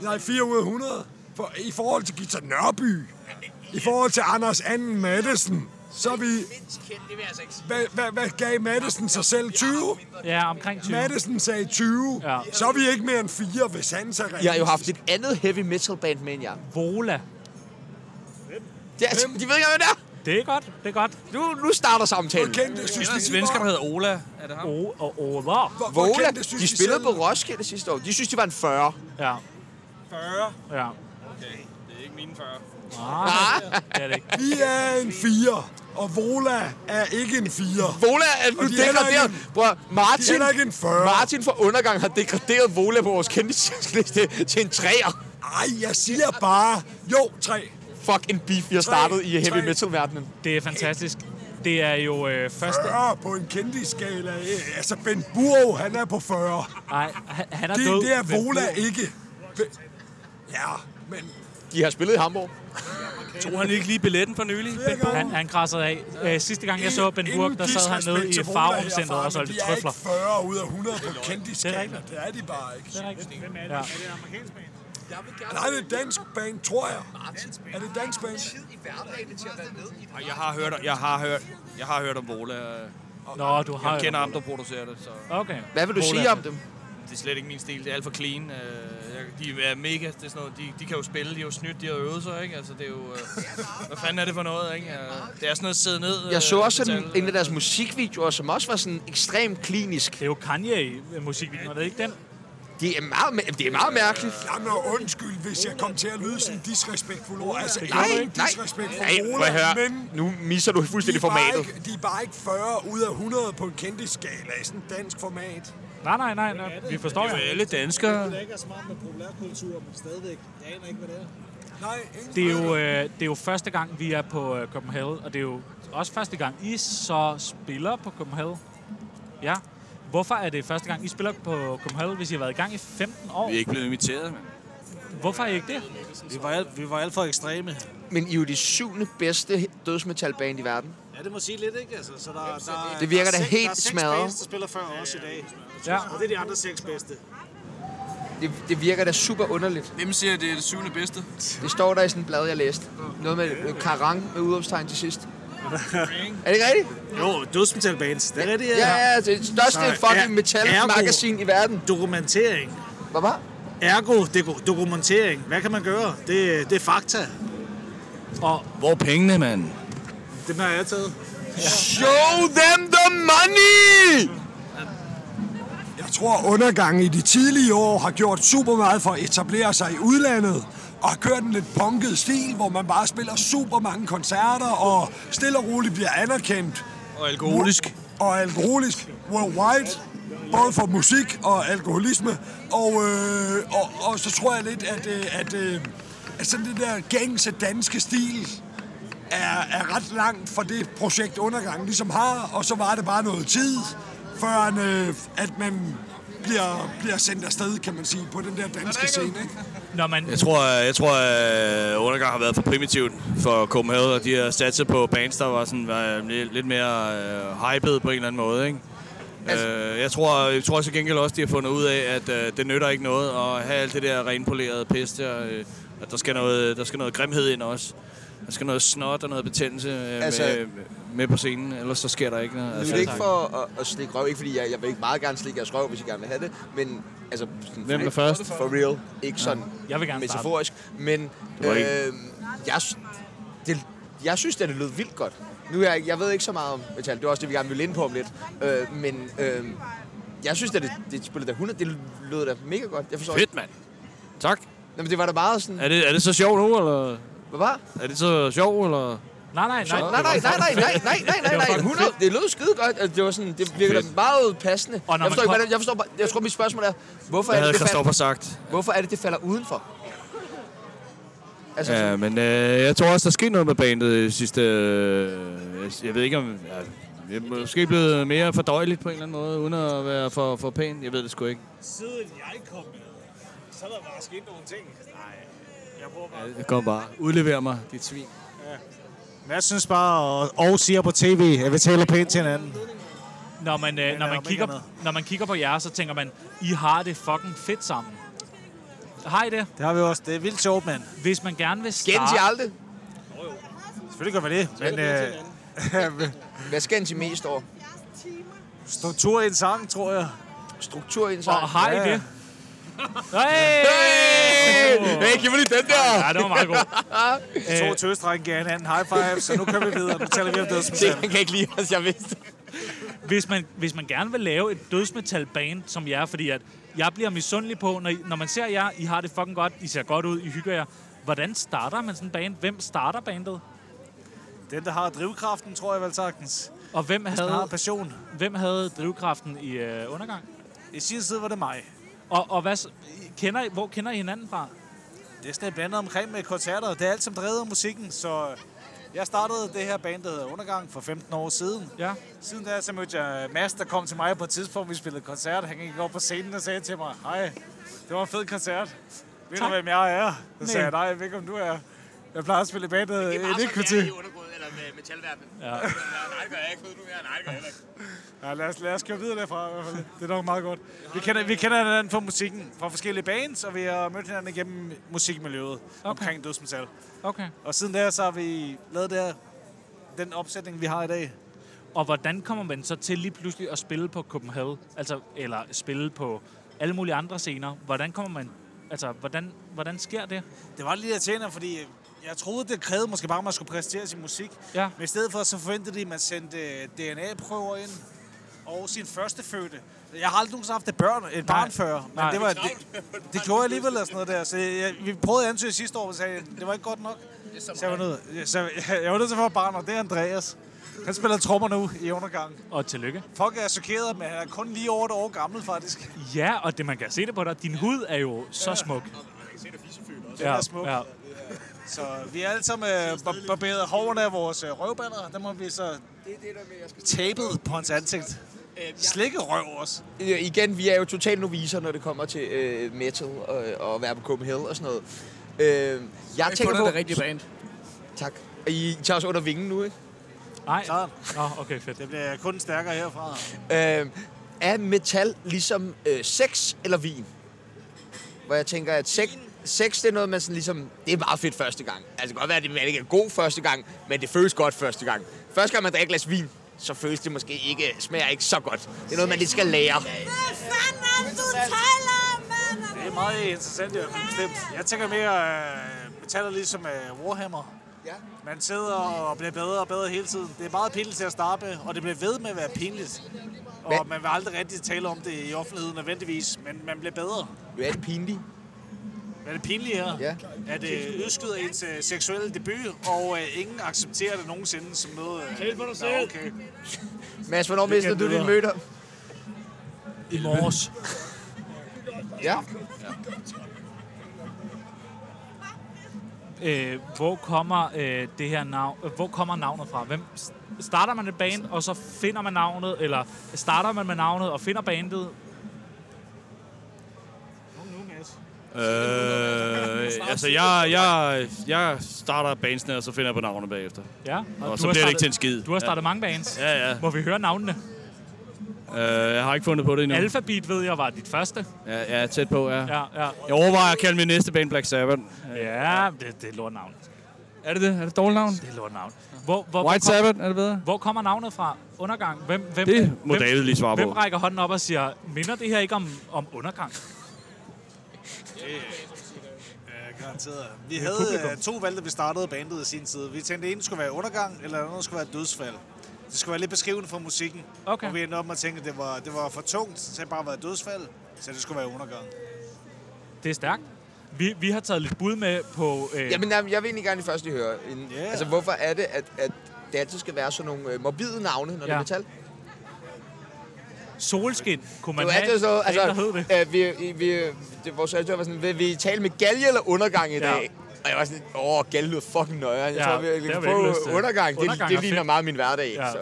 G: Nej, 4 ud af 100. For, I forhold til Gita Nørby, i forhold til Anders Anden Madsen, så er vi... Hvad, hvad, hvad gav Madsen sig selv? 20?
A: Ja, omkring 20.
G: Madsen sagde 20.
A: Ja.
G: Så er vi ikke mere end 4, hvis han tager rigtigt.
C: Jeg har jo haft et andet heavy metal band med end jeg.
A: Vola.
C: Ja, de ved ikke, hvad det er.
A: Det er godt, det er godt.
C: Nu, nu starter samtalen.
G: kendte synes
D: Der er
G: de,
D: en svensker, der hedder Ola. Er det ham?
A: O og Ola.
G: hvor, hvor
C: Vola,
G: kendte synes
C: de spillede
G: selv
C: på Roskilde sidste år. De synes, de var en 40.
A: Ja.
D: 40.
A: Ja.
D: Det er ikke mine 40.
A: Ah, det er det ikke.
G: Vi er en 4, og Vola er ikke en 4.
C: Vola er nu
G: Og de er heller
C: degraderet.
G: ikke
C: Bror,
G: De er
C: Martin,
G: heller ikke en 40.
C: Martin fra Undergang har degraderet Vola på vores kendtisliste til en 3'er.
G: Ej, jeg siger bare... Jo, 3.
C: Fuck en beef, vi har startet i heavy
G: tre.
C: metal-verdenen.
A: Det er fantastisk. Det er jo øh, første...
G: 40 på en kendtiskala. Øh, Altså, Ben Burrow, han er på 40.
A: Nej, han han er
G: Det,
A: død.
G: det er
A: men-
G: Vola ikke. Ben- Ja, men...
C: De har spillet i Hamburg.
D: Tog han ikke lige billetten for nylig?
A: Han, han krassede af. Øh, sidste gang jeg så Ben
G: Ingen
A: Burg, der sad han
G: disrespekt
A: nede i
G: til Vola
A: Farum-centret
G: herfra,
A: og
G: men
A: solgte
G: De
A: trøfler.
G: er ikke 40 ud af 100 på kendtiskala.
A: rigtigt.
G: Det er de bare ikke.
A: Ja.
G: Nej, det er et dansk band, tror jeg. Er det et dansk band?
D: Jeg har hørt, jeg har hørt, jeg har hørt om Vola.
A: Nå, du har
D: Jeg kender
A: jo-
D: ham, der producerer det, så
A: Okay.
C: Hvad vil du
A: Vola.
C: sige om dem?
D: det er slet ikke min stil. Det er alt for clean. Øh, jeg- De er mega, det er sådan noget, de, de kan jo spille, de er jo snydt, de har øvet sig, ikke? Altså, det er jo, øh, hvad fanden er det for noget, ikke? Øh, Det er sådan noget sidde ned.
C: Jeg
D: øh,
C: så også en,
D: metal.
C: en af deres musikvideoer, som også var sådan ekstremt klinisk.
A: Det er jo Kanye-musikvideoen, er det ikke den?
C: Det er meget, mæ- det er meget mærkeligt.
G: Jamen, og undskyld, hvis jeg kom til at lyde sådan disrespektfuld ord. Altså,
C: Nej,
G: ikke en
C: nej.
G: disrespekt for
C: Nej, må jeg
G: Vola,
C: høre.
G: men
C: Nu misser du fuldstændig
G: de er bare
C: formatet.
G: Ikke, de er bare ikke 40 ud af 100 på en kendtiskala i sådan et dansk format.
A: Nej, nej, nej, nej. Vi forstår jo.
D: Alle danskere.
H: Det ikke er smart med populærkultur, men stadigvæk. Jeg aner ikke, hvad det er.
G: Nej, ingen
A: Det er, jo, øh, det er jo første gang, vi er på øh, Copenhagen, og det er jo også første gang, I så spiller på Copenhagen. Ja. Hvorfor er det første gang, I spiller på Copenhagen, hvis I har været i gang i 15 år?
D: Vi er ikke blevet inviteret, men...
A: Hvorfor er I ikke det?
H: Vi var alt, vi var alt for ekstreme.
C: Men I er jo det syvende bedste dødsmetalband i verden.
H: Ja, det må sige lidt, ikke? Altså, så der, der,
C: Det virker
H: der er
C: da
H: seks-
C: helt
H: der er seks
C: smadret.
H: bands, der spiller før os i dag.
A: Ja.
H: Og det er de andre seks bedste.
C: Det, det virker da super underligt.
E: Hvem siger, at det er det syvende bedste?
C: Det står der i sådan et blad, jeg læste. Noget med øh, karang med udopstegn til sidst. er det ikke rigtigt?
H: Jo, dødsmetal bands. Det er rigtigt,
C: Ja, ja, det er det største
H: Nej,
C: fucking
H: er-
C: metal-magasin i verden.
H: Dokumentering.
C: Hvad var?
H: Ergo, det er dokumentering. Hvad kan man gøre? Det, det er fakta.
A: Og
D: Hvor er pengene, mand?
F: Den har jeg taget.
I: Show them the money!
G: Jeg tror, undergangen i de tidlige år har gjort super meget for at etablere sig i udlandet og har kørt en lidt punket stil, hvor man bare spiller super mange koncerter og stille og roligt bliver anerkendt.
D: Og alkoholisk.
G: Og alkoholisk worldwide, både for musik og alkoholisme. Og, øh, og, og så tror jeg lidt, at, øh, at, øh, at sådan det der gængse danske stil er, er ret langt fra det projekt undergang ligesom har, og så var det bare noget tid, før øh, at man bliver, bliver sendt afsted, kan man sige, på den der danske scene. Ikke?
A: når man
D: Jeg tror, jeg tror at undergang har været for primitivt for Copenhagen, og de har sat sig på bands, der var sådan, var lidt lidt mere øh, hyped på en eller anden måde. Ikke? Altså, øh, jeg tror, jeg tror til gengæld også, de har fundet ud af, at øh, det nytter ikke noget at have alt det der renpolerede pis der. Øh, at der skal, noget, der skal noget grimhed ind også. Der skal noget snot og noget betændelse øh,
C: Altså-
D: altså, med, med på scenen, ellers så sker der ikke noget. Altså,
C: Nu er det ikke for at, at slikke røv, ikke fordi jeg, jeg vil ikke meget gerne slikke jeres røv, hvis I gerne vil have det, men altså... Sådan,
D: Hvem er
C: for-
D: først?
C: For real. Ikke sådan
A: Jeg vil gerne starte.
C: metaforisk, men
D: må
C: øh,
D: ikke.
C: jeg, sy- det, jeg synes, at det lød vildt godt. Nu er jeg, ikke- jeg ved ikke så meget om metal, det er også det, vi gerne vil ind på om lidt, øh, men øh, jeg synes, at det, det spillede da 100, det lød da mega godt. Jeg forstår ikke.
D: Fedt, mand. Tak.
C: Nå, men det var da meget sådan,
D: Er det, er det så sjovt nu, eller?
C: hvad var?
D: Er det så sjovt, eller?
A: Nej, nej, nej.
C: Nej, nej, nej, nej, nej, nej, nej, nej, nej, 100, det lød skide godt. Altså, Det var sådan, det virkede
D: Fedt.
C: meget passende.
A: Og når
C: jeg
A: man
C: forstår ikke,
A: kom-
C: hvordan, jeg forstår bare, jeg tror, mit spørgsmål er, hvorfor
D: Hvad
C: er det,
D: havde
C: det falder,
D: Christoffer sagt?
C: hvorfor er det, det falder udenfor? Altså,
D: Ja, men øh, jeg tror også, der skete noget med bandet i sidste... Øh, jeg- jeg ved ikke om... Ja, det er måske blevet mere fordøjeligt på en eller anden måde, uden at være for, for pæn. Jeg ved det sgu ikke.
J: Siden jeg kom med, så er der bare sket nogle ting. Nej, jeg prøver bare.
D: Jeg kommer bare. Udlever mig, dit svin.
F: Mads synes bare, og, og siger på tv, at vi taler pænt til hinanden.
A: Når man, øh, når,
F: er
A: man
F: om ikke
A: kigger,
F: andet.
A: når man kigger på jer, så tænker man, I har det fucking fedt sammen. Har I det?
F: Det har vi også. Det er vildt sjovt, mand.
A: Hvis man gerne vil starte...
C: skændes I aldrig?
F: Selvfølgelig gør vi det, men øh,
C: Hvad skændes I mest over?
F: struktur i en sang, tror jeg.
C: Struktur i en sang?
A: Og har I
F: Ja, ja.
A: det? Hey!
I: Hey, giv mig lige den der!
A: Ja, det var meget godt.
F: De to tøsdrenge giver hinanden high five, så nu kører vi videre. Nu taler vi om dødsmetal.
I: Han kan ikke lide os, jeg vidste.
A: Hvis man, hvis man gerne vil lave et dødsmetalband som jer, fordi at jeg bliver misundelig på, når, I, når man ser jer, I har det fucking godt, I ser godt ud, I hygger jer. Hvordan starter man sådan en band? Hvem starter bandet?
F: Den, der har drivkraften, tror jeg vel sagtens.
A: Og hvem
F: Den har
A: havde,
F: passion.
A: hvem havde drivkraften i øh, undergang?
F: I sin side var det mig.
A: Og, og hvad, s- kender I, hvor kender I hinanden fra?
F: Det er sådan et blandet omkring med koncerter. Det er alt, som drevet af musikken, så øh, jeg startede det her band, der hedder Undergang, for 15 år siden.
A: Ja.
F: Siden da, så mødte jeg Mads, der kom til mig på et tidspunkt, vi spillede koncert. Han gik op på scenen og sagde til mig, hej, det var en fed koncert. Ved du, hvem jeg er? Så sagde jeg, nej, jeg ved ikke, om du er. Jeg plejer at spille i bandet i det kvarter.
K: undergrunden eller med metalverdenen. Ja. Nej, det gør jeg ikke. Ved du her? Nej, det gør jeg ikke.
F: Ja, lad os, lad os køre videre derfra i hvert fald. Det er nok meget godt. Vi kender, vi kender hinanden fra musikken, fra forskellige bands, og vi har mødt hinanden igennem musikmiljøet okay. omkring dødsmetal.
A: Okay.
F: Og siden der, så har vi lavet der, den opsætning, vi har i dag.
A: Og hvordan kommer man så til lige pludselig at spille på Copenhagen? Altså, eller spille på alle mulige andre scener. Hvordan kommer man... Altså, hvordan, hvordan sker det?
F: Det var lidt irriterende, fordi øh, jeg troede, det krævede måske bare, at man skulle præstere sin musik.
A: Ja.
F: Men i stedet for, så forventede de, at man sendte øh, DNA-prøver ind og sin første fødte. Jeg har aldrig nogensinde haft et, børn, et barn før, men
A: Nej.
F: det, var, det, det gjorde jeg alligevel eller sådan noget der. Så jeg, vi prøvede at ansøge sidste år, og sagde, det var ikke godt nok. Så jeg var nødt, så jeg, jeg var nødt til at få et barn, og det er Andreas. Han spiller trommer nu i undergang.
A: Og tillykke.
F: Folk er chokeret, men han er kun lige over et år gammel, faktisk.
A: Ja, og det man kan se det på dig. Din hud er jo så smuk. Ja,
F: er smuk.
A: ja.
F: Så vi er alle sammen øh, bar- barberet hårene af vores øh, røvballer. Der må vi så tapet på hans ansigt. Slikke røv også.
C: Øh, igen, vi er jo totalt noviser, når det kommer til øh, metal og, og være på Copenhagen og sådan noget. Øh, jeg
L: Jeg
C: tænker
L: fundet
C: på...
L: det rigtige band.
C: Tak. I tager os under vingen nu, ikke?
A: Nej.
F: Klart.
A: Nå, okay, fedt.
F: Det bliver kun stærkere herfra.
C: Øh, er metal ligesom øh, sex eller vin? Hvor jeg tænker, at sex, sex det er noget, man sådan ligesom... Det er meget fedt første gang. Altså, det kan godt være, at man ikke er god første gang, men det føles godt første gang. Første gang, man drikker et glas vin, så føles det måske ikke, smager ikke så godt. Det er noget, man lige skal lære.
M: Hvad fanden er det, du taler om, mand?
F: Det er meget interessant, det er bestemt. Jeg tænker mere, øh, metaller ligesom øh, Warhammer.
C: Ja.
F: Man sidder og bliver bedre og bedre hele tiden. Det er meget pinligt til at starte med, og det bliver ved med at være pinligt. Og
C: Hvad?
F: man vil aldrig rigtig tale om det i offentligheden nødvendigvis, men man bliver bedre.
C: Hvad er det pinligt?
F: Hvad er det pinlige her?
C: Ja.
F: At øh, udskyder ens øh, seksuelle debut, og øh, ingen accepterer det nogensinde som noget... Øh, Tal for dig selv! Okay.
C: Mads, hvornår
F: Det
C: mistede
F: kan
C: du din
F: videre.
C: møder?
A: I morges.
C: Ja.
A: Øh, hvor kommer øh, det her navn, øh, hvor kommer navnet fra? Hvem s- starter man et band og så finder man navnet eller starter man med navnet og finder bandet?
D: Øh, altså, jeg, jeg, jeg starter bandsene, og så finder jeg på navnet bagefter.
A: Ja.
D: Og,
A: du
D: så
A: har
D: bliver det
A: startet-
D: ikke til en skid.
A: Du har startet mange bands.
D: Ja, ja.
A: Må vi høre navnene?
D: Øh, jeg har ikke fundet på det endnu.
A: Alphabet ved jeg var dit første.
D: Ja, ja, tæt på, ja.
A: Ja, ja.
D: Jeg overvejer at kalde min næste band Black Sabbath.
A: Ja, det, det er et lort navn.
D: Er det det? Er det et dårligt navn? Det
A: er et lort navn. Hvor, hvor,
D: White
A: hvor kom-
D: Sabbath, er det bedre?
A: Hvor kommer navnet fra? Undergang? Hvem, hvem,
D: Det må
A: hvem,
D: David lige svare på.
A: Hvem rækker hånden op og siger, minder det her ikke om, om undergang?
F: Ja, garanteret. Vi
A: Det er
F: havde
A: publikum.
F: øh, to valg, da vi startede bandet i sin tid. Vi tænkte, at ene skulle være undergang, eller den anden skulle være dødsfald. Det skulle være lidt beskrivende for musikken.
A: Okay.
F: Og vi endte op med at tænke, at det var, det var for tungt til at bare være dødsfald, så det skulle være undergang.
A: Det er stærkt. Vi, vi har taget lidt bud med på... Øh,
C: Jamen, jamen, jeg vil egentlig gerne lige først lige høre. En, yeah. Altså, hvorfor er det, at, at det altid skal være sådan nogle øh, morbide navne, når ja. det er
A: Ja.
C: metal?
A: solskin, kunne man
C: det var
A: have
C: altid så,
A: en, der hed
C: altså,
A: det.
C: øh, vi, vi, det, vores redaktør var sådan, vil vi tale med galge eller undergang i
A: Ja.
C: dag? Og jeg var sådan, åh, galge lyder fucking nøjeren. Jeg
A: Ja,
C: tror, vi,
A: det
C: vi
A: har
C: kan
A: vi ikke
C: prøve
A: lyst til.
C: undergang. Det,
A: Undergang er
C: det ligner
A: fedt.
C: meget min hverdag.
A: Ja.
C: Ja. Så.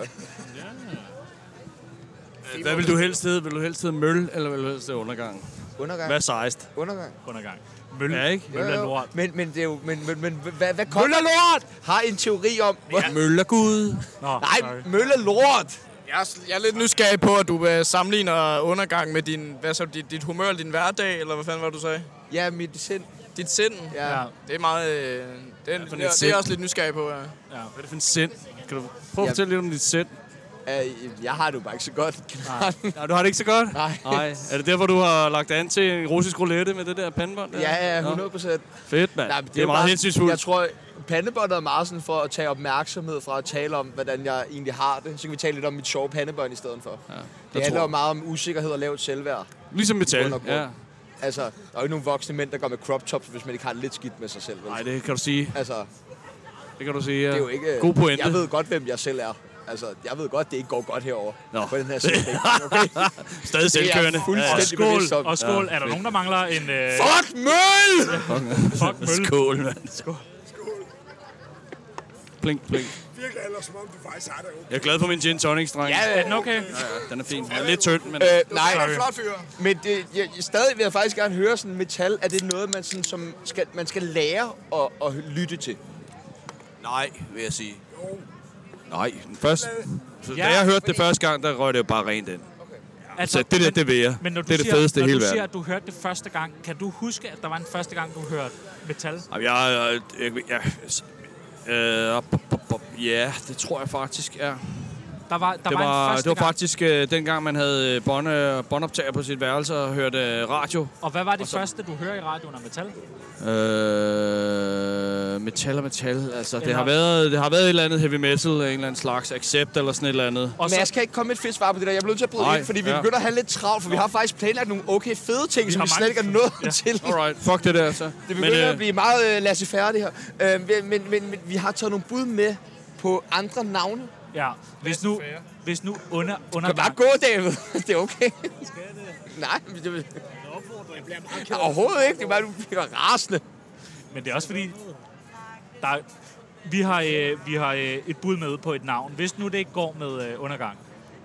D: Hvad vil du helst hedde? Vil du helst hedde Møl, eller vil du helst hedde Undergang?
C: Undergang.
D: Hvad er sejst?
C: Undergang.
A: Undergang. Møl.
D: Ja, ikke?
C: Jo, jo. Men, men, det er jo, men, men, men hvad, hvad kom?
D: Møl er lort!
C: Har en teori om... Ja.
D: Møl er gud.
A: Nå,
C: Nej, møl er lort!
N: Jeg er, jeg er lidt nysgerrig på, at du øh, sammenligner undergang med din, hvad så, dit, dit humør, din hverdag, eller hvad fanden var det, du sagde?
C: Ja, mit sind.
N: Dit sind?
C: Ja. Ja.
N: Det er meget... Øh, det, er, det,
D: for
N: er,
D: et
N: det er
D: sind?
N: jeg også lidt nysgerrig på, ja.
A: Ja.
D: Hvad er det for en sind? Kan du prøve at
C: Ja.
D: fortælle lidt om dit sind?
C: Øh, jeg har det jo bare ikke så godt.
D: Nej, du har det ikke så godt?
C: Nej.
D: Nej. Er det derfor, du har lagt an til en russisk roulette med det der pandebånd? der?
C: Ja, ja,
D: Nå.
C: 100 procent.
D: Fedt, mand. det, det er meget hensynsfuldt.
C: Jeg tror, pandebåndet er meget sådan for at tage opmærksomhed fra at tale om, hvordan jeg egentlig har det. Så kan vi tale lidt om mit sjove pandebånd i stedet for. Ja, det handler
D: tror
C: jo
D: jeg.
C: meget om usikkerhed og lavt selvværd.
D: Ligesom
C: i
D: metal,
C: bund og grund.
D: ja.
C: Altså, der er jo ikke nogen voksne mænd, der går med crop tops, hvis man ikke har det lidt skidt med sig selv. Vel?
D: Nej, det kan du sige.
C: Altså,
D: Det kan du sige, ja.
C: det er jo ikke... øh,
D: God pointe.
C: Jeg ved godt, hvem jeg selv er. Altså, jeg ved godt, det ikke går godt herover
D: Nå.
C: på den her side. Okay?
D: Stadig
C: Det er jeg
D: selvkørende.
C: fuldstændig
A: Og
C: det er vi bevidste
A: skål,
C: om.
A: og skål.
D: Ja,
A: er der
D: fedt.
A: nogen, der mangler en... Øh,
C: Fuck møl!
A: fuck møl.
D: Skål, mand. Skål. Plink, plink.
G: Virkelig eller som om du faktisk har det jo.
D: Jeg er glad for min gin tonic, dreng.
C: Ja,
A: Er den okay?
D: Den er fin. Den er lidt tynd, men...
C: Øh, nej,
A: Sorry.
C: flot fyr. Men det, jeg, jeg, stadig vil jeg faktisk gerne høre sådan metal. Er det noget, man, sådan, som skal, man skal lære at, at lytte til?
D: Nej, vil jeg sige. Nej, den første... Så, da
A: Ja,
D: jeg hørte det første gang, der røg det jo bare rent ind.
A: Altså,
D: det der,
A: men-
D: det vil jeg.
A: Men når du
D: Det er det
A: siger,
D: fedeste i
A: når du
D: hele
A: siger,
D: verden.
A: at du hørte det første gang, kan du huske, at der var en første gang, du hørte metal?
D: Jamen, jeg... øh, jeg, jeg, jeg øh, op, op, op, ja, det tror jeg faktisk, ja.
A: Der var, der
D: det
A: var, en
D: var,
A: første
D: det var
A: gang.
D: faktisk øh, dengang, man havde øh, bånd, øh, båndoptager på sit værelse og hørte øh, radio.
A: Og hvad var det første, du hører i radioen af metal?
D: Øh, metal og metal. Altså, det
A: Eller-
D: har, været, det har været et eller andet heavy metal, en eller anden slags accept eller sådan et eller andet.
A: Og
C: Og
A: så,
C: Men jeg skal ikke komme med et fedt svar på det der. Jeg bliver nødt til at bryde
D: Nej,
C: ind, fordi vi
D: ja.
C: begynder at have lidt travlt, for vi har faktisk planlagt nogle okay fede ting, som
A: har
C: vi
A: mange
C: slet ikke er nået ja. til.
D: Alright, fuck det der, så.
C: Det begynder men, øh, at blive meget øh, lasse færdig her. Øh, men, men, men, men vi har taget nogle bud med på andre navne. Du
A: ja, hvis nu, hvis nu under,
C: kan bare
A: undergang...
C: gå, David. det er okay. Nej, men det vil... Overhovedet ikke. Det er bare, du bliver rasende.
A: Men det er også fordi, der, er- vi har, øh, vi har øh, et bud med på et navn. Hvis nu det ikke går med øh, undergang,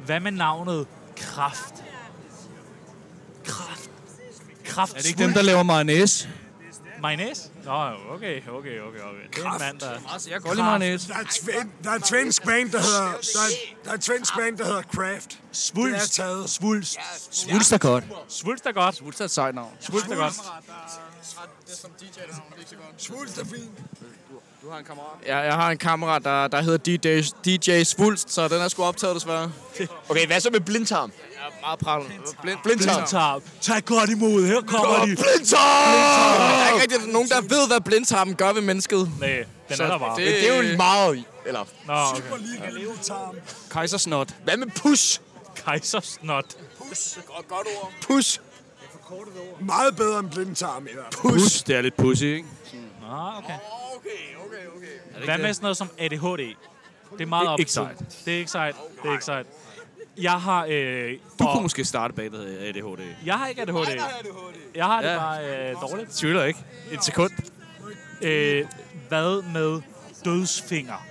A: hvad med navnet Kraft? Kraft. Kraft.
D: Er det ikke dem, der laver mayonnaise?
A: Mayonnaise? Nå, okay, okay, okay. okay. Det er en mand, der...
D: Altså, jeg går lige mayonnaise.
G: Der er, et sven, der er et svensk band, der hedder... Der er, der er et svensk band, der hedder Kraft.
A: Svulst.
G: Det er taget.
A: Svulst.
O: Svulst er godt.
A: Svulst er godt.
D: Svulst er et sejt navn.
A: Svulst er godt.
E: Det er som DJ, der er ikke så godt.
G: Svulst er fint.
E: Du har en kammerat? Ja, jeg har en kammerat, der, der hedder DJ, DJ Svulst, så den er sgu optaget desværre.
C: Okay, hvad så med blindtarm?
E: Jeg er meget prallende. Blind,
C: Blindtarm.
A: Blindtarp. Tag godt imod. Her kommer de.
E: Der er ikke rigtig nogen, der ved, hvad blindtarmen gør ved mennesket.
A: Nej, den er der bare.
E: det-
C: Men det er jo meget... Eller,
A: Nå, okay.
G: Superliga levetarm.
E: Kejsersnot.
C: hvad med pus?
A: Kejsersnot.
C: Pus.
G: Meget bedre end blindtarm i hvert fald.
D: Pus. Det er lidt pussy, ikke?
A: Nå, Ah, okay. Hvad
D: øh,
A: med sådan noget som ADHD? Det er meget op.
D: Ikke sejt.
A: Det er ikke sejt. Det er ikke sejt. Jeg har... Øh,
D: Du
A: og-
D: kunne måske starte bag det hedder ADHD.
A: Jeg har ikke ADHD. Jeg har det
D: Ja.
A: bare øh, dårligt.
D: Tvivler ikke. Et sekund.
A: Øh, hvad med dødsfinger?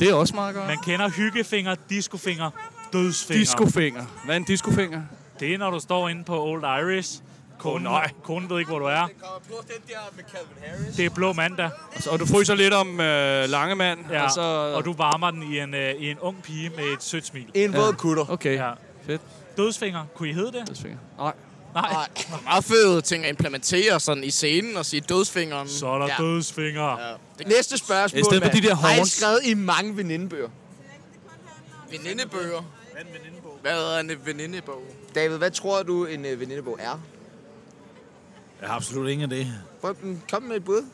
D: Det er også meget godt.
A: Man kender hyggefinger, discofinger, dødsfinger.
D: Discofinger. Hvad er en discofinger?
A: Det er, når du står inde på Old Irish. Konen, oh, konen ved ikke, hvor du er. Det er blå mandag,
D: Og du fryser lidt om øh, Langemand.
A: ja.
D: Og, så,
A: og du varmer den i en, øh, i en ung pige med et sødt smil.
C: En våd kutter.
D: Okay.
A: Ja.
D: Fedt.
A: Dødsfinger, kunne I hedde det?
D: Dødsfinger. Nej.
A: Nej.
E: Meget fede ting at implementere sådan i scenen og sige dødsfingeren.
A: Så er der
C: Ja.
A: dødsfinger.
C: Næste spørgsmål,
D: I stedet for
C: mand.
D: de der
C: Har I
D: horns.
C: skrevet i mange venindebøger?
E: Venindebøger. Hvad er
C: øh,
E: en venindebog?
C: David, hvad tror du, en øh, venindebog er?
F: Jeg har absolut ingen idé.
C: Prøv, mm, kom med et bud.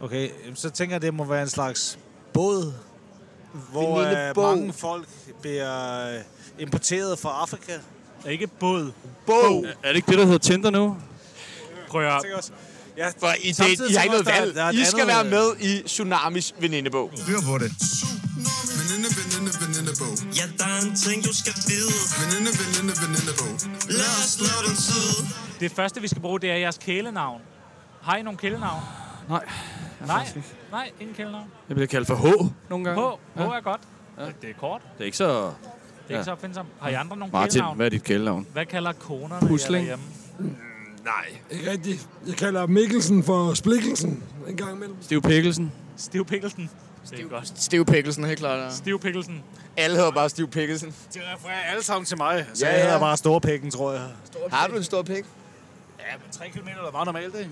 F: Okay, jamen, så tænker jeg, det må være en slags båd, hvor øh,
C: Venindebog.
F: mange folk bliver øh, importeret fra Afrika.
A: Det er ikke båd.
C: Bog.
D: Er det ikke det, der hedder Tinder nu?
A: Prøv at
F: Jeg
A: høre.
F: tænker også, ja,
C: For I, det,
F: Samtidig
C: I har
F: så
C: ikke noget
F: også, der-
C: valg.
F: der er et
C: I skal
F: andet,
C: være
F: øh,
C: med i Tsunamis venindebog.
P: Hør på det. Veninde, veninde, venindebog. Ja, der er en ting, du skal vide. Veninde, veninde, venindebog. Lad os lave den tid.
A: Det første, vi skal bruge, det er jeres kælenavn. Har I nogle kælenavn?
D: Nej.
A: Nej, nej, ingen kælenavn.
D: Jeg bliver kaldt for H nogle
A: H,
D: gange.
A: H er godt. Det er kort.
D: Det er ikke så...
A: Det er ikke så opfindsomt. Har I andre nogle
D: Martin,
A: kælenavn?
D: hvad er dit kælenavn?
A: Hvad kalder konerne
D: Pusling.
A: jer derhjemme?
G: Ikke rigtigt. Jeg kalder Mikkelsen for Splikkelsen en gang imellem.
D: Stiv Pikkelsen.
A: Stiv Pikkelsen. Det er godt.
E: Stiv Pikkelsen, helt klart. ja.
A: Stiv Pikkelsen.
C: Alle hedder bare Stiv Pikkelsen.
F: de refererer alle sammen til mig, så
C: Ja,
F: ja, jeg hedder
C: ja.
F: bare Storpikken, tror jeg.
C: Har du en stor pik?
F: Ja, men 3 km er meget normalt, ikke?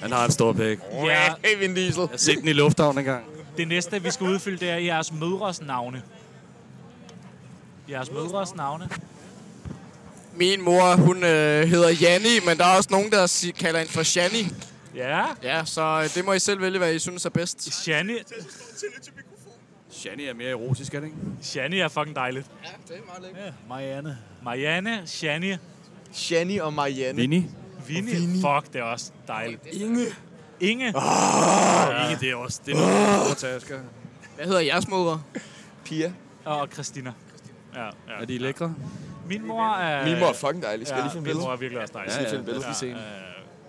D: Han har en stor pik. Jeg
A: Ja,
C: Hey, Vin Diesel.
D: har set den i lufthavnen engang.
A: det næste, vi skal udfylde, det er jeres mødres navne. Jeres mødres navne.
E: Min mor, hun øh, hedder Janni, men der er også nogen, der si- kalder hende for Shani.
A: Ja,
E: Ja, så øh, det må I selv vælge, hvad I synes er bedst.
A: Shani.
D: Shani er mere erotisk, er det ikke?
A: Shani er fucking dejligt.
E: Ja, det er meget lækkert.
F: Marianne.
A: Marianne, Shani,
C: Shani og Marianne.
D: Vinny.
A: Vinnie. Fuck, det er også dejligt.
G: Inge.
A: Inge.
D: Ja. Ikke det er også. Det er noget, jeg tager, Asger.
E: Hvad hedder jeres mødre?
C: Pia.
A: Og Christina. Ja,
D: Er
A: ja.
D: de lækre?
A: Min mor er...
C: Min mor er fucking dejlig. Skal jeg
A: Øh, Ja, min mor
C: lige finde billeder?
A: er virkelig også dejlig.
D: Ja, ja,
C: billede.
D: lad os lige se.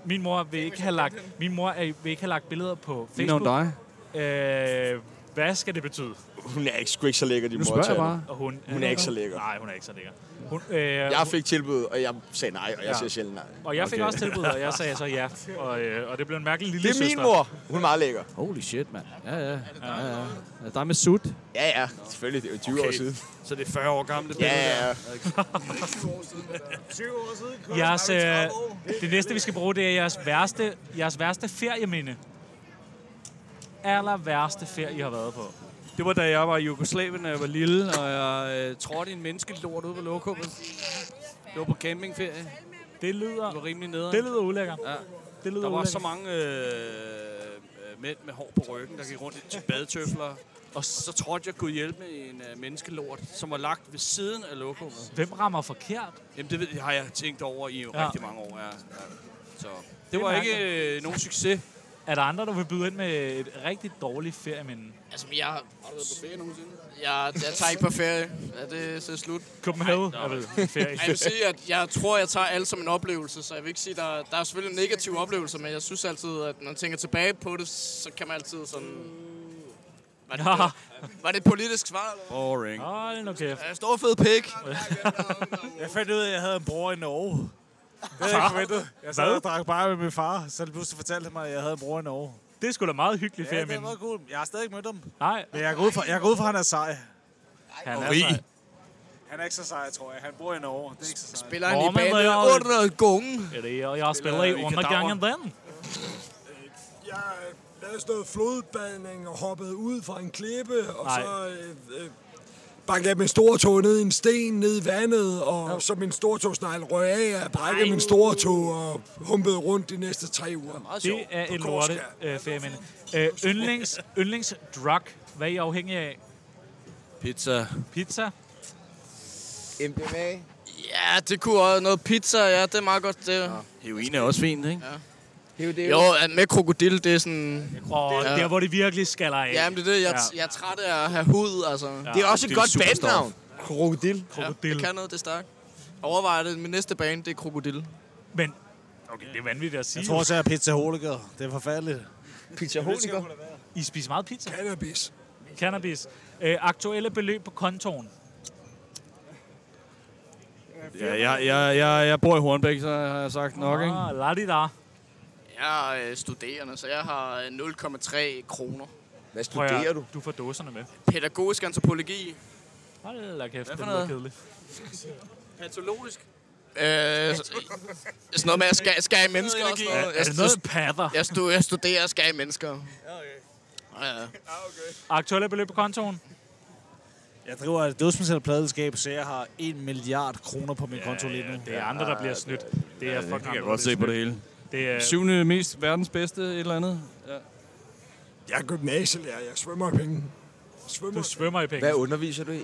A: Min mor vil ikke have lagt, min mor er, vil ikke have lagt billeder på Facebook.
D: Ligner hun dig?
A: Øh, hvad skal det betyde?
C: Hun er ikke, sgu ikke så lækker, din
D: Nu
C: mor.
D: spørger jeg
C: Tjerno.
D: bare.
A: Og hun,
C: Hun er ikke så lækker.
A: Nej, hun er ikke så lækker. Hun, øh, jeg
C: Jeg fik tilbud, og jeg sagde nej, og jeg siger sjældent nej.
A: og jeg fik
D: Okay.
A: også tilbud, og jeg sagde så ja. Og, øh, og det blev en mærkelig lille
C: Det er min mor. Hun er meget lækker.
D: Holy shit, mand. Ja, ja. ja, ja. Er det dig med sut?
C: Ja, ja. Selvfølgelig, det er jo 20 år siden.
D: Så det er 40 år gammelt.
C: Ja, ja, ja.
A: Jeres, øh, det næste, vi skal bruge, det er jeres værste, jeres værste ferieminde. Aller værste ferie, I har været på.
D: Det var da jeg var i Jugoslavien, da jeg var lille, og jeg øh, trådte i en menneskelort ude på lokummet. Det var på campingferie.
A: Det
D: Det var
A: lyder,
D: rimelig nederen.
A: det lyder ulækkert.
D: Ja.
A: Det lyder
D: Der var
A: ulækkert.
D: så mange øh, øh, mænd med hår på ryggen, der gik rundt i badetøfler. Og så trådte jeg kunne hjælpe med en øh, menneskelort, som var lagt ved siden af lokummet.
A: Hvem rammer forkert?
D: Jamen det ved, har jeg tænkt over i
A: Ja.
D: ja. rigtig mange år. Ja. Ja. Så det
A: er
D: var
A: mærkeligt.
D: ikke øh, nogen succes.
A: Er der andre, der vil byde ind med et rigtig dårligt ferieminde?
E: Altså, jeg... Har du været på ferie nogensinde? Jeg, jeg tager ikke på ferie. Ja, det er så slut.
A: Copenhagen er vel en ferie.
E: Ej, Jeg vil sige, at jeg tror, jeg tager alt som en oplevelse, så jeg vil ikke sige, der, der er selvfølgelig negative oplevelser, men jeg synes altid, at når man tænker tilbage på det, så kan man altid sådan... Var det, var det et politisk svar? Eller?
D: Boring.
A: Hold nu kæft.
E: hvad? Øh, Stor fed pik.
F: Jeg fandt ud af, at jeg havde en bror i Norge. Det havde jeg ikke forventet. Jeg sad og drak bare med min far, så pludselig fortalte han mig, at jeg havde en bror i Norge.
A: Det skulle sgu da meget hyggeligt
F: Ja,
A: ferie,
F: det er
A: men...
F: meget cool. Jeg har stadig ikke mødt ham.
A: Nej,
F: Men jeg går ud fra, jeg går ud fra at han er sej.
A: han er rig.
H: Han er ikke så sej, tror jeg. Han bor i Norge. Det er ikke så sej.
E: Spiller han i bandet Undergården?
A: Ja, det er, jeg spiller
H: Eller
A: i
H: i
A: Undergangen den.
G: Jeg lavede sådan noget flodbadning og hoppede ud fra en klippe, og
A: Nej.
G: så øh, øh, bankede jeg min store tog ned i en sten, ned i vandet, og så min store togsnegl røg af, og jeg brækkede min store tog og humpede rundt de næste tre uger.
A: Det er
G: På
A: et
G: Korska.
A: lorte øh, ferieminde. Øh, yndlings, yndlings drug. Hvad er I afhængig af?
D: Pizza.
A: Pizza?
Q: MDMA?
E: Ja, det kunne også noget pizza. Ja, det er meget godt. Det. Ja.
D: Heroin er også fint, ikke?
Q: Ja. Jo,
E: det jo, at med krokodil, det er sådan...
A: Og
E: Ja.
A: der, hvor det virkelig skaller af.
E: Ja, men det er det. Jeg, jeg er træt af at have hud, altså. Ja.
Q: Det er også et godt bandnavn. Krokodil.
E: Ja, det
A: Krokodil.
E: kan noget, det er stærkt. Overvej det. Min næste bane, det er krokodil.
A: Men, okay, det er vanvittigt at sige.
H: Jeg tror også, jeg er pizza holiker. Det er forfærdeligt.
Q: Pizza
A: I spiser meget pizza?
G: Cannabis.
A: Cannabis. Øh, aktuelle beløb på kontoen.
D: Ja, jeg, jeg, jeg, jeg bor i Hornbæk, så har jeg sagt nok, ikke?
A: Ah, la
E: Jeg er øh, studerende, så jeg har øh, 0,3 kroner.
Q: Hvad
A: du? Du får dåserne med.
E: Pædagogisk antropologi. Øh,
A: Hold da kæft,
E: Hvad
A: det
E: for
A: lyder
E: noget?
A: kedeligt.
E: Patologisk. Øh, så- sådan noget med at skære skære i mennesker og sådan noget.
A: Er det noget patter?
E: Jeg, stu, jeg studerer og skære i mennesker. Ja,
A: Aktuelle beløb på kontoen?
H: Jeg driver et dødsmessigt pladelskab, så jeg har 1 milliard kroner på min konto lige nu.
A: Det er andre, der bliver snydt. Det er
D: det
A: fucking
D: kan jeg
A: andre,
D: godt
A: der
D: se på
A: bliver
D: det hele.
A: snydt. Det er...
D: Syvende mest verdens bedste et eller andet.
G: Jeg er gymnasielærer, jeg svømmer i penge. Svømmer.
A: Du svømmer i penge.
Q: Hvad underviser du i?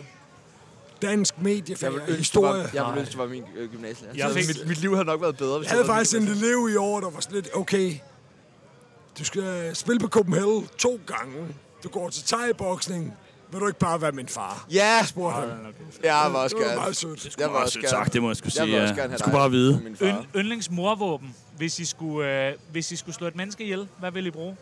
G: Dansk
Q: Jeg
G: mediefag
Q: vil
G: og
Q: ønske, det
G: historie.
Q: var, jeg vil ønske, det var min øh, gymnasielærer.
A: Jeg
Q: Jeg
A: fik-
Q: fik... mit, mit liv havde nok været bedre, hvis
G: Jeg havde
Q: det var min
G: faktisk en elev i år, der var sådan lidt, okay, du skal spille på Copenhagen to gange. Du går til thai-boksning. Vil du ikke bare være min far?
Q: Ja.
G: Jeg spurgte ham.
Q: gymnasielærer. Jeg var også
G: Det var
Q: gerne.
G: meget sødt.
Q: Jeg var
D: meget
Q: også
D: sødt
Q: gerne.
D: sagt, det må jeg sgu sige,
Q: Jeg vil
D: ja.
Q: også gerne have
D: Skulle bare vide.
Q: som min far.
A: Ynd, yndlings morvåben, hvis I, skulle, øh, hvis I skulle slå et menneske ihjel, hvad ville I bruge?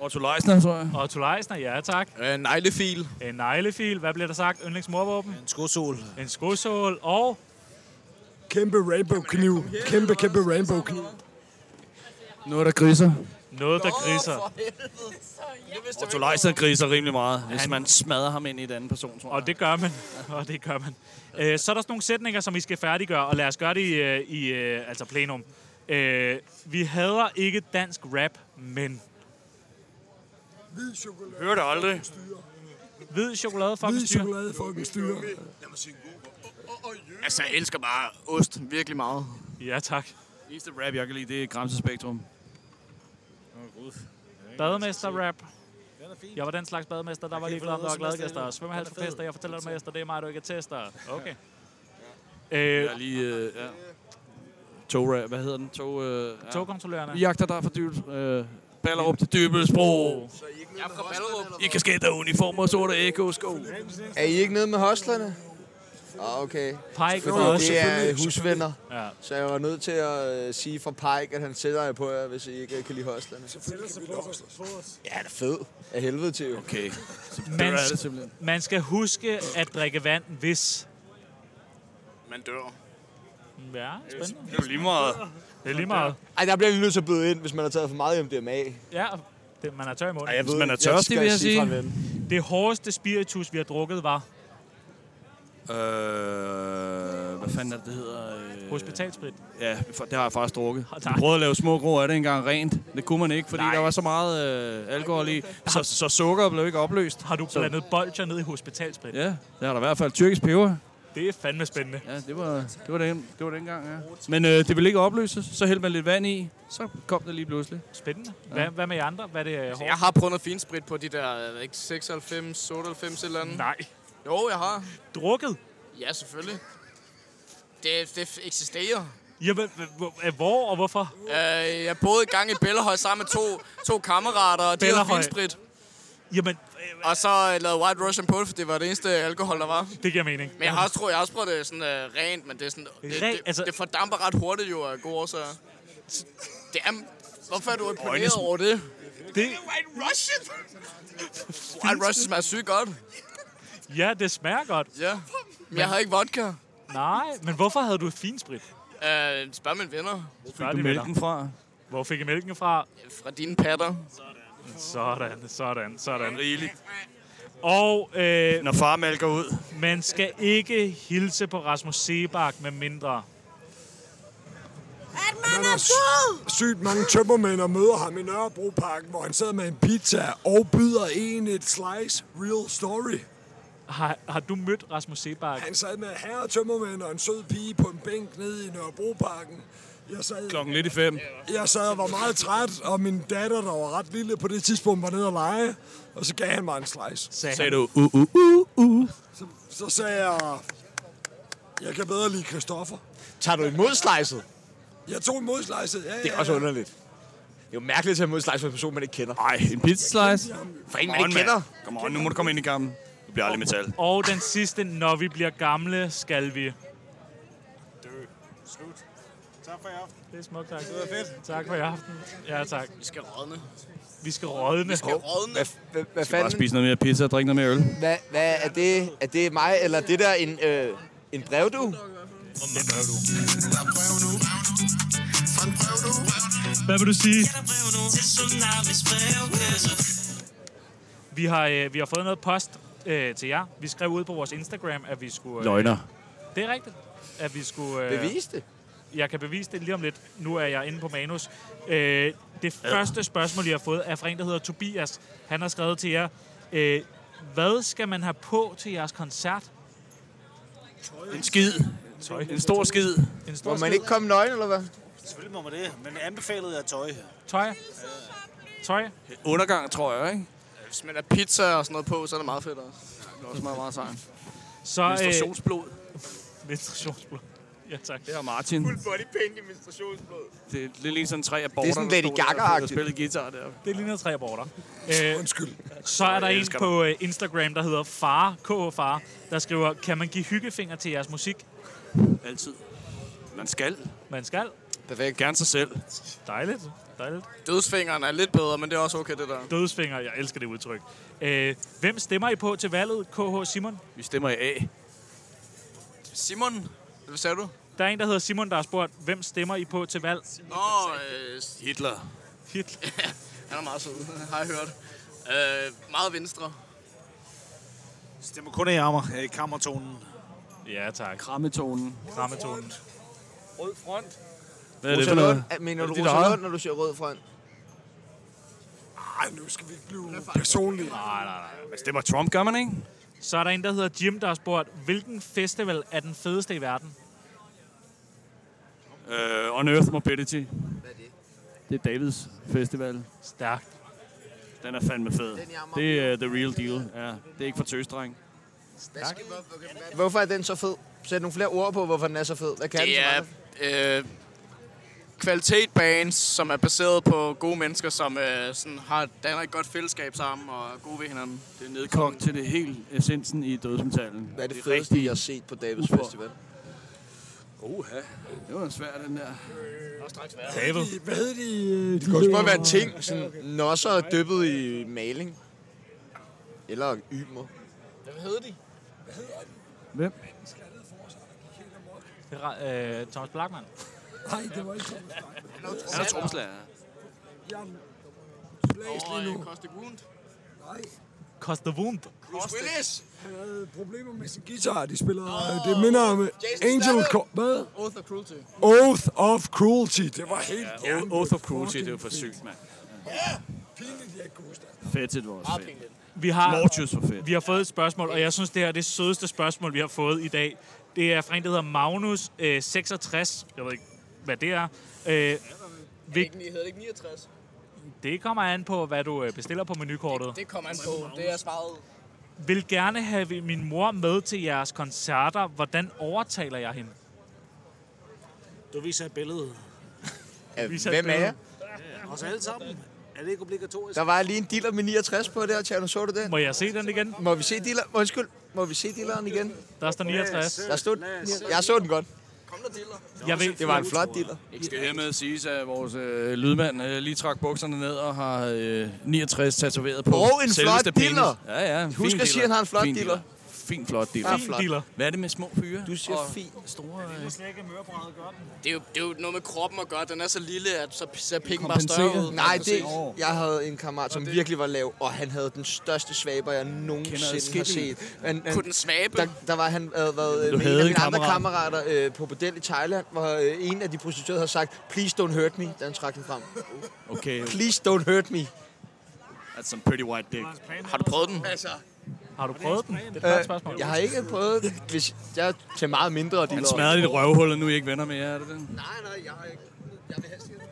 D: Otto Leisner, tror jeg.
A: Otto Leisner, ja tak.
E: ja. Øh, neglefil.
A: En neglefil, hvad bliver der sagt? Yndlings morvåben?
H: En skosol.
A: En skosål og...
G: Kæmpe rainbow-kniv. Kæmpe, kæmpe rainbow-kniv.
D: Noget, der griser.
A: Noget, der griser.
D: Otto Leisner griser rimelig meget, hvis man smadrer ham ind i et andet person, tror jeg.
A: Og det gør man. Og det gør man. Øh, så er der sådan nogle sætninger, som vi skal færdiggøre, og lad os gøre det i, øh, i øh, altså plenum. Øh, vi hader ikke dansk rap, men...
G: Hvid chokolade.
D: Hører det aldrig.
A: Hvid chokolade, fuck
G: Hvid
A: styr.
G: chokolade fucking styre.
E: Altså, jeg elsker bare ost virkelig meget.
A: Ja, tak.
D: Eneste rap, jeg kan lide, det er Gramse Spektrum.
A: Bademester-rap.
H: Den er fin.
A: Jeg var den slags bademester, der var lige glad, om der var glade gæster. Svømmehals på
H: Den er fed.
A: fester, jeg fortæller dig mester, det er mig, du ikke er tester. Okay.
D: Jeg
A: Øh,
D: er lige... Øh, ja. Tog, rap, hvad hedder den? Tog, øh, ja.
A: togkontrollørerne.
D: Vi jagter dig for dybt. Øh, Ballerup til Dybelsbro.
E: Jeg er fra Ballerup.
D: I kasketter, uniformer og sorte ekosko.
Q: Er I ikke nede med hostlerne? Ah, okay.
A: Pike
Q: Fordi
A: og
Q: det er øh, husvenner.
A: Ja.
Q: Så jeg var nødt til at øh, sige fra Pike, at han sætter jer på jer, hvis I ikke øh, kan lide hostlerne. Ja, han er fed. Af helvede til jo.
D: Okay.
A: Man,
D: er det simpelthen.
A: man skal huske at drikke vand, hvis...
E: Man dør.
A: Ja, spændende.
D: Det er jo lige meget.
A: Det er lige meget.
Q: Ej, der bliver jeg lige nødt til at byde ind, hvis man har taget for meget MDMA.
A: Ja, det, man er tør i munden.
D: Hvis man er tørstig, vil jeg sige.
A: Det hårdeste spiritus, vi har drukket, var
D: Øh, hvad fanden er det, det hedder? Øh,
A: hospitalsprit.
D: Ja, for- det har jeg faktisk drukket.
A: Og
D: Jeg
A: tak.
D: prøvede at lave små grå af det engang rent. Det kunne man ikke, fordi Nej. der var så meget øh, alkohol i. Så, så sukker blev ikke opløst.
A: Har du blandet bolcher ned i hospitalsprit?
D: Ja, det har der i hvert fald. Tyrkisk peber.
A: Det er fandme spændende.
D: Ja, det var, det var, den, det var dengang, ja. Men øh, det ville ikke opløses. Så hældte man lidt vand i. Så kom det lige pludselig.
A: Spændende. Hvad, hvad med jer andre? Hvad er det øh, hårdt?
E: Altså, Jeg har prøvet noget finsprit på de der, jeg ved ikke, 96, 98 eller andet.
A: Nej.
E: Jo, jeg har.
A: Drukket?
E: Ja, selvfølgelig. Det, det eksisterer.
A: Jamen, h- h- h- hvor og hvorfor?
E: Øh, jeg boede i gang i Bellahøj sammen med to, to kammerater, og de havde
A: Bellahøj.
E: finsprit.
A: Jamen, øh,
E: Og så øh, lavede White Russian Pulp, det var det eneste alkohol, der var.
A: det giver mening.
E: Men jeg har også, tror, jeg har også prøvet det sådan øh, rent, men det er sådan... Det,
A: Rent,
E: det,
A: altså-
E: det fordamper ret hurtigt jo af gode årsager. Det er... Hvorfor er du imponeret over det?
A: Det,
E: White Russian! White Russian smager sygt godt.
A: ja, det smager godt.
E: Ja. Men jeg havde ikke vodka.
A: Nej, men hvorfor havde du finsprit?
E: Øh, spørg mine venner.
A: Fik
D: Du mælken fra.
A: Hvor fik I mælken fra?
E: Fra dine patter.
A: Sådan, sådan, sådan.
D: Rigeligt.
A: Og, øh,
D: Når farmælk går ud.
A: Man skal ikke hilse på Rasmus Sebak med mindre.
G: Han har sy- sygt mange tømmermænd og møder ham i Nørrebroparken, hvor han sidder med en pizza og byder en et slice. Real story.
A: Har, har du mødt Rasmus Sebak?
G: Han sad med herre tømmermænd og en sød pige på en bænk nede i Nørrebroparken. Jeg sad,
D: Klokken lidt i fem.
G: jeg sad og var meget træt, og min datter, der var ret lille på det tidspunkt, var nede og lege. Og så gav han mig en slice.
D: Sagde du, uh, uh, uh, uh.
G: Så, så sagde jeg, jeg kan bedre lide Christoffer.
Q: Tager du imod slicet?
G: Jeg tog imod slicet, ja,
Q: Det er
G: ja,
Q: også
G: ja.
Q: underligt. Det er jo mærkeligt at tage imod slice fra en person, man ikke kender.
D: Nej, en pizza slice.
Q: For en, man ikke kender.
D: Kom on, nu må du komme ind i kampen. Du bliver aldrig metal.
A: Og den sidste, når vi bliver gamle, skal vi.
H: Slut. Tak for i aften.
A: Det er smukt, tak.
H: Det var fedt.
A: Tak for i aften. Ja, tak.
E: Vi skal rådne.
A: Vi skal rådne.
E: Vi skal rådne.
Q: Hvad, hvad, hvad
D: Skal bare
Q: fanden?
D: spise noget mere pizza og drikke noget mere øl.
Q: Hvad, hvad er det? Er det mig, eller det der en, øh, en brev, du?
A: Hvad vil du sige?
P: Til tsunamis brevkasse.
A: Vi har, øh, vi har fået noget post øh, til jer. Vi skrev ud på vores Instagram, at vi skulle... Øh,
D: Løgner.
A: Det er rigtigt. At vi skulle... Øh,
Q: Bevis det.
A: Jeg kan bevise det lige om lidt. Nu er jeg inde på manus. Øh, det første spørgsmål, jeg har fået, er fra en, der hedder Tobias. Han har skrevet til jer, øh, hvad skal man have på til jeres koncert?
D: En skid. En stor skid.
A: En stor
Q: Må man
A: skid?
Q: ikke komme nøgen, eller hvad?
H: Selvfølgelig må man det, men anbefalet er tøj.
A: Tøj? Tøj?
D: Undergang, tror jeg, ikke?
E: Hvis man er pizza og sådan noget på, så er det meget fedt også. Det er også meget, meget sejt.
A: Så, øh,
D: Menstruationsblod.
A: menstruationsblod. Ja, tak.
D: Det er Martin.
E: Full body paint i menstruationsblod.
D: Det er lidt ligesom tre aborter,
Q: Det er sådan Lady
D: der
Q: Gaga-agtigt.
D: spiller guitar der.
A: Det ligner tre aborter. Øh,
G: Undskyld.
A: Så er der
D: Jeg
A: en
D: elsker
A: på øh, Instagram, der hedder Far, KH Far, der skriver, kan man give hyggefinger til jeres musik?
D: Altid. Man skal.
A: Man skal.
D: Perfekt. Gerne sig selv.
A: Dejligt. Dejligt.
E: Dødsfingeren er lidt bedre, men det er også okay, det der.
A: Dødsfinger, jeg elsker det udtryk. Øh, hvem stemmer I på til valget, KH Simon?
D: Vi stemmer i A.
E: Simon, hvad sagde du?
A: Der er en, der hedder Simon, der har spurgt, hvem stemmer I på til valg?
E: Nå, øh,
D: Hitler.
A: Hitler.
E: han er meget sød, har jeg hørt. Øh, meget venstre.
H: Stemmer kun i armer. I kammertonen.
A: Ja, tak.
D: Rammetonen.
A: Rammetonen.
H: Rød front.
D: Hvad er det
Q: Rosa
D: for noget?
Q: Lund, er- mener
D: Er
Q: du
D: det dit
Q: Rosa
D: eget?
Q: Lund, når du siger rød front?
G: Ej, nu skal vi ikke blive personlige.
D: Man Ah, stemmer Trump, gør man ikke?
A: Så er der en, der hedder Jim, der har spurgt, hvilken festival er den fedeste i verden?
D: Uh, Unearth Mobility. Hvad er det? Det er Davids festival.
A: Stærkt.
D: Den er fandme fed. Det er uh, the real deal. Ja, det er ikke for tøsdreng.
Q: Hvorfor er den så fed? Sæt nogle flere ord på, hvorfor den er så fed. Hvad kan den
E: Det
Q: så meget?
E: er øh, kvalitetbands, som er baseret på gode mennesker, som øh, sådan har, danner et godt fællesskab sammen og er gode ved hinanden.
D: Det er nedkogt til det helt essensen i dødsmetallen.
Q: Hvad er det fedeste, I har set på Davids
D: Ufor.
Q: Festival?
D: Oha. Det var en svær, den der.
A: David.
G: Hvad hed de?
Q: Det kunne også bare være ting, sådan nosser dyppet i maling. Eller ymer.
E: Hvad hedder de?
D: Hvem?
A: Det er, ra- øh, Thomas Blackman.
G: Nej, det var ikke sådan.
D: Han er tromslager.
G: Jeg blæs
E: Og
G: lige
E: øh,
G: nu.
E: Koste Gund.
G: Nej,
A: Koster Wound.
E: Bruce Willis.
G: han havde problemer med sin guitar. De spillede, oh, det minder om øh,
E: Jason
G: Angel...
E: Statham.
G: Co- hvad?
E: Oath of Cruelty.
G: Oath of Cruelty. Det var helt
D: Ja, Oath of Cruelty, det var for sygt, mand.
G: pinligt, jeg ikke kunne huske det.
D: Fettet var også fedt.
A: Vi har,
D: Mortius var fedt.
A: vi har fået et spørgsmål, og jeg synes, det her er det sødeste spørgsmål, vi har fået i dag. Det er fra en, der hedder Magnus, øh, 66. Jeg ved ikke, hvad det er. Øh,
E: Ikke, hedder det ikke 69?
A: det kommer an på, hvad du øh, bestiller på menukortet.
E: Det kommer an på. Det er svaret.
A: Vil gerne have min mor med til jeres koncerter. Hvordan overtaler jeg hende?
H: Du viser et billede.
Q: Ja,
A: Vi satte
Q: Hvem er
A: billede.
Q: jeg?
H: Os alle sammen. Er det ikke obligatorisk?
Q: Der var lige en dealer med 69 på der, Tjerno. Så du det?
A: Må jeg se den igen?
Q: Må vi se dealer? Undskyld. Må vi se dealeren igen?
A: Der står 69.
Q: Der stod den. Jeg så den godt.
A: Jeg vil,
Q: Det var en flot dealer.
D: Det skal hermed siges, at vores øh, lydmand øh, lige trak bukserne ned og har øh, 69 tatoveret på
Q: Og en flot
D: selveste penis.
Q: diller.
D: Ja, ja. en
Q: Husk
D: fin
Q: at sige, at han har en flot
D: Fin
Q: dealer.
D: Fin flot dealer.
E: Fin Flot. dealer.
D: Hvad er det med små fyre?
E: Du siger
D: Og
E: fin.
D: Store...
E: Det er, jo, det er jo noget med kroppen at gøre. Den er så lille, at så ser pikken bare større ud.
Q: Nej, det,
E: Præcis.
Q: jeg havde en kammerat, som
E: Og det-
Q: virkelig var lav, og han havde den største svaber, jeg nogensinde har
E: adskillige.
Q: set. Han, han,
E: Kunne den svabe?
Q: Der, der var han havde været
E: Du
Q: øh, med
E: havde
Q: en af
E: en
Q: mine andre
E: kammerat.
Q: kammerater øh, på bordel i Thailand, hvor øh, en af de prostituerede havde sagt, please don't hurt me, da han trak den frem.
D: Okay.
Q: Please don't hurt me.
D: That's some pretty white dick. Har du prøvet den?
Q: Altså.
D: Har du prøvet den?
Q: Øh, jeg har ikke prøvet det, hvis jeg til meget mindre.
D: Han smadrede dit røvhul, og nu er I ikke venner mere, er det det?
Q: Nej, nej, jeg har ikke. Jeg vil helst ikke.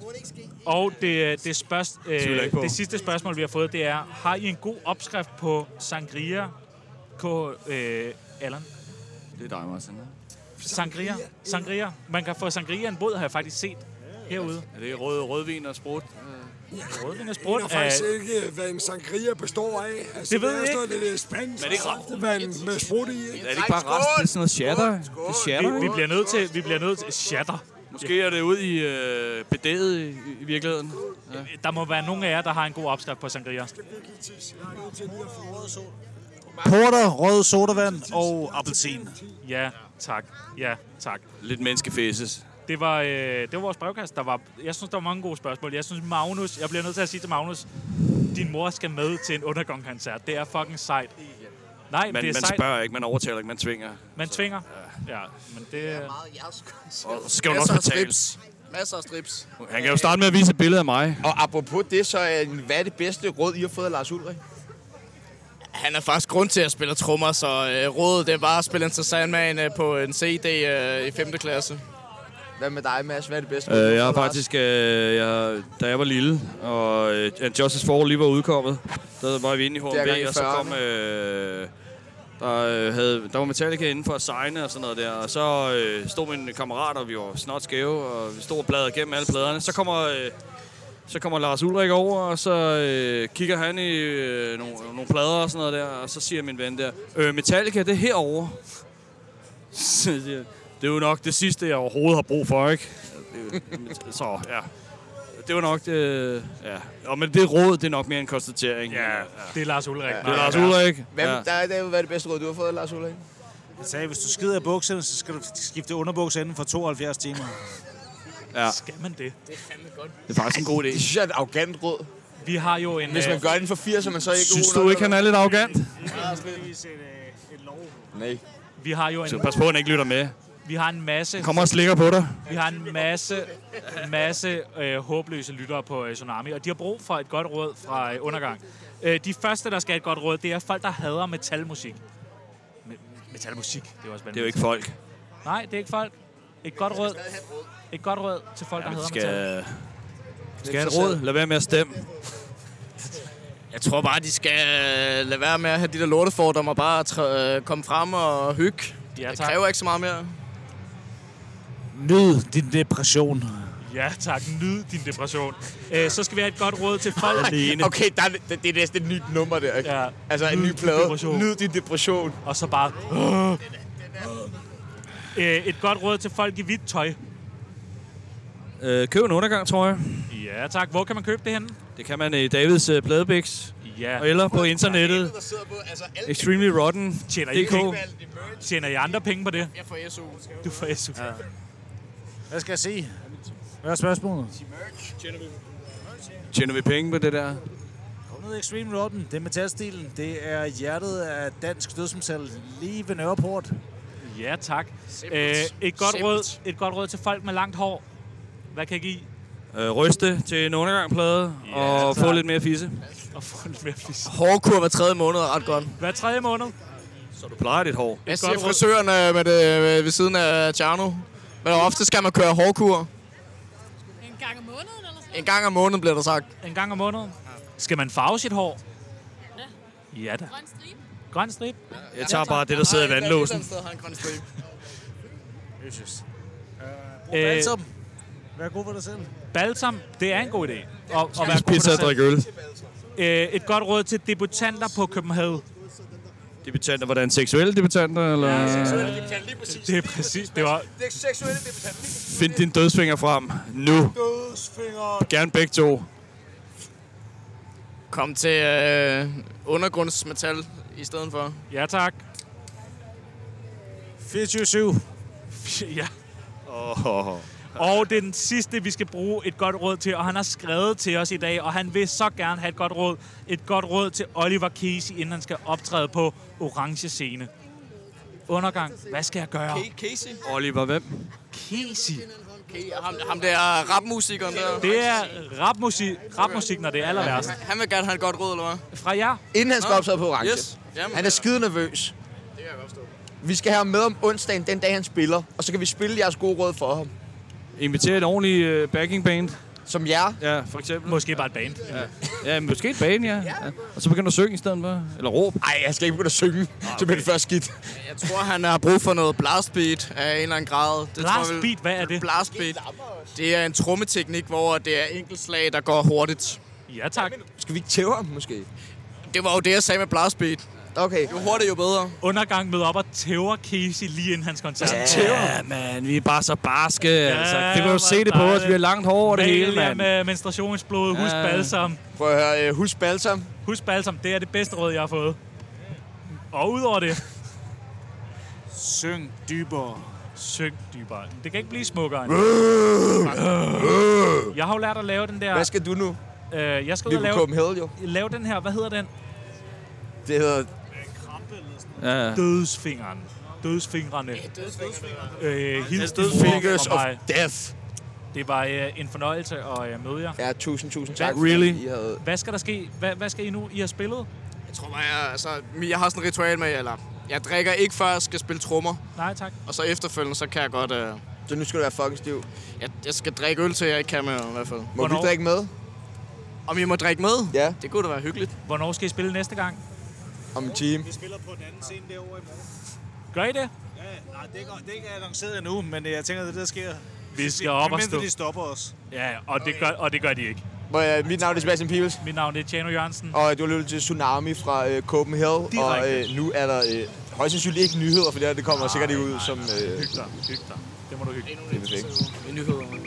Q: Burde ikke ske.
A: Og det, det, spørg,
D: Tvivler ikke på.
A: øh, det sidste spørgsmål, vi har fået, det er, har I en god opskrift på sangria, K. Øh, Allan?
D: Det er dig, Martin.
A: Sangria. Sangria. Man kan få sangria en båd, har jeg faktisk set herude.
D: Er det rød, rødvin og sprut?
A: Rødvin og
G: Jeg
A: sprut
G: ved faktisk
A: er...
G: ikke, hvad en sangria består af. Altså,
A: Det ved
G: der
A: jeg
G: står
A: ikke.
G: lidt spansk
D: Men det er ikke
G: saftevand med sprut i.
D: Er det ikke bare rest? Det er sådan noget shatter. Skål, Det shatter,
A: Vi, vi
D: ikke?
A: bliver nødt til... Vi bliver nødt til... Shatter.
D: Måske er det ude i øh, bedæget i, i virkeligheden. Ja.
A: Der må være nogen af jer, der har en god opskrift på sangria.
H: Porter, rød sodavand og appelsin.
A: Ja, tak. Ja, tak.
D: Lidt menneskefæses.
A: Det var, øh, det var vores brevkast. Der var, jeg synes, der var mange gode spørgsmål. Jeg synes, Magnus... Jeg bliver nødt til at sige til Magnus, din mor skal med til en undergangskoncert. Det er fucking sejt. Nej,
D: Man,
A: det er
D: man
A: sejt.
D: spørger ikke, man overtaler ikke, man tvinger.
A: Man tvinger. Ja, men det... Det er
Q: meget jeres
D: Og så skal hun også betale.
Q: Masser af strips.
D: Han kan jo starte med at vise et billede af mig.
Q: Og apropos det, så er hvad er det bedste råd, I har fået af Lars Ulrik?
E: Han er faktisk grund til at spille trommer, så øh, rådet det er bare at spille en til Sandman øh, på en CD øh, i 5. klasse.
Q: Hvad med dig, Mads? Hvad er det bedste råd,
D: Øh,
Q: du
D: jeg
Q: har
D: har
Q: fået af Lars?
D: faktisk, øh, jeg, da jeg var lille, og øh, And Justice for All lige var udkommet, der var vi inde i
Q: Det er gang i
D: HMB, og så
Q: 40'erne.
D: kom... Øh, der, øh, havde, der var Metallica inde for at signe og sådan noget der, og så øh, stod mine kammerater, og vi var snot skæve, og vi stod og bladrede gennem alle pladerne. Så kommer, øh, så kommer Lars Ulrik over, og så øh, kigger han i øh, nogle, nogle plader og sådan noget der, og så siger min ven der, øh, Metallica, det er herovre. Så siger jeg, det er jo nok det sidste, jeg overhovedet har brug for, ikke? Så, ja. Det var nok det, ja. Og men det råd, det er nok mere en konstatering. Ja, ja.
A: Det er Lars Ulrik.
D: Det er Lars Ulrik.
Q: Hvad med
D: Ja.
Q: dig, David? Hvad er det bedste råd, du har fået af Lars Ulrik?
H: Jeg sagde, hvis du skider i bukserne, så skal du skifte underbukser inden for 72 timer.
D: Ja.
A: Skal man det?
E: Det er fandme godt.
D: Det er faktisk en god idé.
Q: Det synes jeg er et arrogant råd.
A: Vi har jo en... øh,
Q: Hvis man gør det inden for 80, så er man så ikke
D: Synes
Q: god nok,
D: du ikke, han
Q: eller?
D: er lidt arrogant?
Q: Nej.
A: Vi har jo en...
D: Så pas på, at han ikke lytter med.
A: Vi har en masse...
D: Han kommer og slikker på dig.
A: Vi har en masse, masse øh, håbløse lyttere på øh, Tsunami, og de har brug for et godt råd fra øh, undergang. Øh, de første, der skal have et godt råd, det er folk, der hader metalmusik. Me- metalmusik, det er også
D: Det er jo ikke folk.
A: Nej, det er ikke folk. Et godt råd. Et godt råd til folk,
D: Ja,
A: ja, der
D: men
A: hader skal... metal.
D: de skal... de Skal have et råd? Lad være med at stemme.
E: Jeg tror bare, de skal øh, lade være med at have de der lortefordomme og bare træ- øh, komme frem og hygge.
A: Ja,
E: det
A: tak.
E: kræver ikke så meget mere.
H: Nyd din depression.
A: Ja tak, nyd din depression. Øh, så skal vi have et godt råd til folk.
D: Alene.
Q: Okay, der er, det, det er næsten et nyt nummer der, ikke?
A: Ja,
Q: Altså en
A: nyd
Q: ny
A: din
Q: plade.
A: depression.
Q: Nyd din depression.
A: Og så bare... Øh, et godt råd til folk i hvidt tøj.
D: Øh, køb en undergang, tror jeg.
A: Ja tak. Hvor kan man købe det henne?
D: Det kan man i Davids øh, Pladebæks.
A: Ja.
D: Eller på internettet. altså, Extremely Rotten.
A: Tjener I,
D: DK.
A: penge? Tjener I andre penge på det?
E: Jeg får SU.
A: Du får SU. Ja.
H: Hvad skal jeg sige? Hvad er spørgsmålet?
D: Tjener vi penge på det der?
H: Kom ned i Extreme Rotten. Det er metalstilen. Det er hjertet af dansk dødsmetal lige ved Nørreport.
A: Ja, tak. Øh,
H: Simpelt.
A: et, godt
H: Simpelt.
A: råd, et godt råd til folk med langt hår. Hvad kan jeg give?
D: Øh, ryste til en undergangplade.
A: Ja,
D: Og
A: tak.
D: få lidt mere fisse.
A: Og få lidt mere fisk.
E: Hårdkur hver tredje måned er ret godt.
A: Hver tredje måned?
D: Så du plejer dit hår.
E: Jeg
A: Et
E: siger
A: godt råd.
E: frisøren øh, med det, øh, ved siden af Tjerno. Men ofte skal man køre hårdkur.
M: En gang om måneden eller sådan
E: En gang om måneden bliver der sagt.
A: En gang om måneden. Skal man farve sit hår?
M: Ja.
A: Ja da.
M: Grøn stribe.
A: Grøn strip?
D: Jeg tager bare det, der sidder i vandlåsen.
H: Jesus.
A: Øh,
H: Balsam. Vær god for dig selv.
A: balsam, det er en god idé. Og, og være
D: Spis pizza og drikke øl.
A: Øh, et godt råd til debutanter på København.
D: Debutanter, hvordan? Seksuelle debutanter? Eller?
A: Det er præcis. Det var,
Q: Det er seksuelle debutant.
D: Find din dødsfinger frem. Nu.
H: Dødsfinger.
D: Gerne begge to.
E: Kom til øh, undergrundsmetal i stedet for.
A: Ja, tak.
H: 24-7.
A: ja. Og det er den sidste, vi skal bruge et godt råd til, og han har skrevet til os i dag, og han vil så gerne have et godt råd. Et godt råd til Oliver Casey, inden han skal optræde på orange scene. Undergang. Hvad skal jeg gøre?
E: Ke- Casey?
D: Oliver, hvem?
A: Casey.
E: Ke- ham, ham der rapmusikeren der.
A: Det er rapmusik, rapmusik når det er aller værst.
E: Han, han vil gerne have et godt råd, eller hvad?
A: Fra jer?
Q: Inden han skal
E: Nå.
Q: optræde på Orange.
E: Yes. Jamen,
Q: han er
E: øh,
Q: skide nervøs.
E: Det kan jeg godt forstå.
Q: Vi skal have ham med om onsdagen, den dag han spiller. Og så kan vi spille jeres gode råd for ham.
D: Inviter et ordentligt øh, backing band.
Q: Som jer?
D: Ja, for eksempel.
A: Måske bare et band.
D: Ja, ja men måske et band, ja. ja. Og så begynder du at synge i stedet for. Eller råb.
Q: Nej, jeg skal ikke begynde at
E: Ah,
Q: synge. Så bliver det først skidt.
E: Jeg tror, han har brug for noget blastbeat af en eller anden grad. Det tror jeg,
A: Blastbeat? Hvad er det?
E: Blastbeat. Det er en trommeteknik, hvor det er enkeltslag, der går hurtigt.
A: Ja, tak.
Q: Skal vi ikke tæve ham, måske?
E: Det var jo det, jeg sagde med blastbeat.
Q: Okay.
E: Jo hurtigere, jo bedre.
A: Undergang med op og tæver Casey lige inden hans koncert.
D: Ja, man, vi er bare så barske. Ja, altså.
A: Ja,
D: Det kan du
A: hvor
D: se det på os.
A: dejligt.
D: Vi har langt hår over det
A: Vælg
D: hele,
A: jer
D: mand.
A: med menstruationsblod, husk
D: Ja.
A: balsam.
Q: Prøv at høre, øh, husk balsam.
A: Husk balsam, det er det bedste råd, jeg har fået. Og udover det... Syng dybere. Syng dybere. Det kan ikke blive smukkere. end det. Jeg har jo lært at lave den der...
Q: Hvad skal du nu?
A: Øh, jeg skal
Q: Vi
A: ud og
Q: er på
A: lave,
Q: Copenhagen, jo.
A: lave den her... Hvad hedder den?
Q: Det hedder...
D: Ja.
A: Dødsfingeren. Dødsfingrene. Øh, hils din mor
Q: Fingers
A: fra
Q: of
A: mig.
Q: death.
A: Det var øh, en fornøjelse at øh, møde jer.
Q: Ja, tusind, tusind tak.
A: Hvad- Really?
Q: fordi I havde...
A: Hvad skal der ske? Hvad, hvad skal I nu? I har spillet?
E: Jeg tror bare, jeg, altså, jeg har sådan et ritual med, eller jeg drikker ikke før jeg skal spille trommer,
A: Nej, tak.
E: og så efterfølgende, så kan jeg godt... Øh,
Q: Så nu skal du være fucking stiv.
E: jeg, jeg skal drikke øl til, jeg ikke kan med, i hvert fald.
Q: Må vi
A: Hvornår?
Q: drikke med?
E: Om I må drikke med?
Q: Ja.
E: Det kunne da være hyggeligt.
A: Hvornår skal I spille næste gang?
Q: Om en time.
H: Vi spiller på den anden scene derovre i morgen.
A: Gør I det?
H: Ja, nej, det er, ikke, det er ikke annonceret endnu, men jeg tænker, det der sker.
A: Vi skal op og
H: Medmindre
A: stå.
H: de stopper os.
A: Ja, og det gør, og det gør de ikke.
Q: Må jeg- Mit navn er Sebastian Pibels,
A: Mit navn er Tjano Jørgensen.
Q: og du har lyttet til Tsunami fra øh, Copenhagen. Og
A: Direkte.
Q: øh, nu er der øh, højst sandsynligt ikke nyheder, for det, her, det kommer sikkert ikke ud som... Øh,
A: Hyg dig, hyg dig. Det må du hygge.
Q: det er perfekt.
E: Med nyhederne.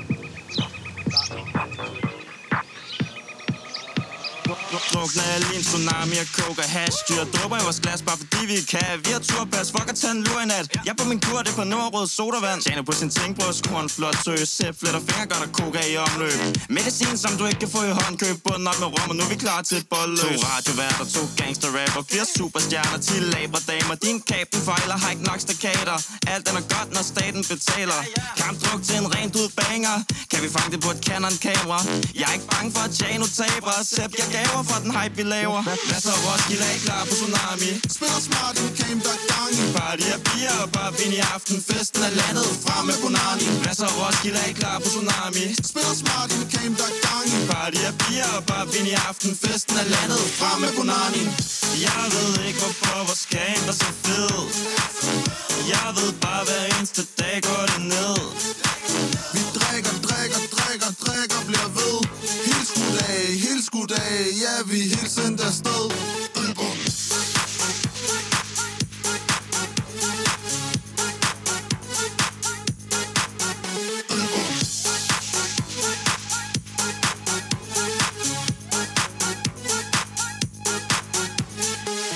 P: Drukner jeg lige en tsunami, jeg koger hash Dyr dråber i vores glas, bare fordi vi kan Vi har turpas, fuck at tage en lur i nat Jeg er på min kur, det er på Nordrød sodavand Tjener på sin tænkbrød, skruer en flot tøs Sæt fletter fingre, gør der koka i omløb Medicin, som du ikke kan få i håndkøb Bunden op med rum, og nu er vi klar til et bolløs To radioværter, to gangster rapper Fire superstjerner, til labre damer Din kapen fejler, har ikke nok stakater Alt den er godt, når staten betaler Kampdruk til en rent ud banger Kan vi fange det på et Canon-kamera? Jeg er ikke bange for, at Jano taber Sepp, jeg gaver for den hype, vi laver Masser af Roskilde er I klar på tsunami Spiller smart, en game, der gang i Party af bier og bare vind i aften Festen er landet frem med Bonani Masser af Roskilde er I klar på tsunami Spiller smart, en game, der gang i Party af bier og bare vind i aften Festen er landet frem med Bonani Jeg ved ikke hvorfor vores game var så fed Jeg ved bare hver eneste dag går det ned
R: Vi drikker, drikker, drikker, drikker, bliver ved Hils goddag, hils goddag, ja vi er helt sendt afsted Ølbom.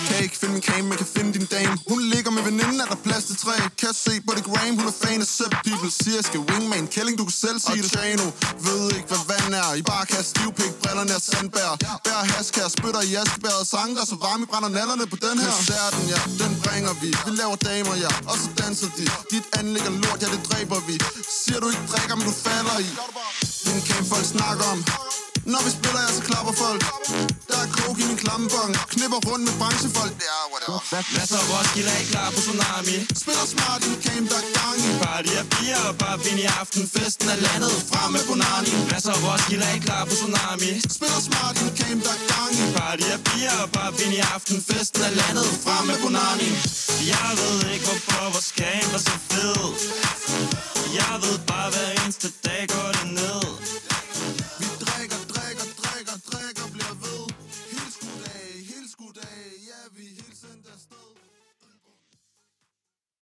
R: Kan ikke finde min kame, men kan finde din dame Hun ligger med veninden, er der plads til tre Kan se på det gram, hun er fan af Sepp People Siger, jeg skal wingman, kælling, du kan selv sige det Chano, ved ikke hvad vand er I bare kan stivpik, brillerne er sandbær Bær haskær, spytter i askebæret Sanker så varme, I brænder nallerne på den her Koncerten, ja, den bringer vi Vi laver damer, ja, og så danser de Dit anlæg er lort, ja, det dræber vi Siger du ikke drikker, men du falder i Din kame, folk snakker om når vi spiller, jeg så klapper folk Der er krog i min klammebong Knipper rundt med branchefolk Det er, whatever
P: Masser af Roskilde er I klar på tsunami
R: Spiller smart, en game, der er gang i
P: Party af bier og bare vind i aften Festen er landet frem med Bonani Masser af Roskilde er I klar på tsunami
R: Spiller smart, en game, der er gang i
P: Party af bier og bare vind i aften Festen er landet frem med Bonani Jeg ved ikke hvorfor vores game var så fed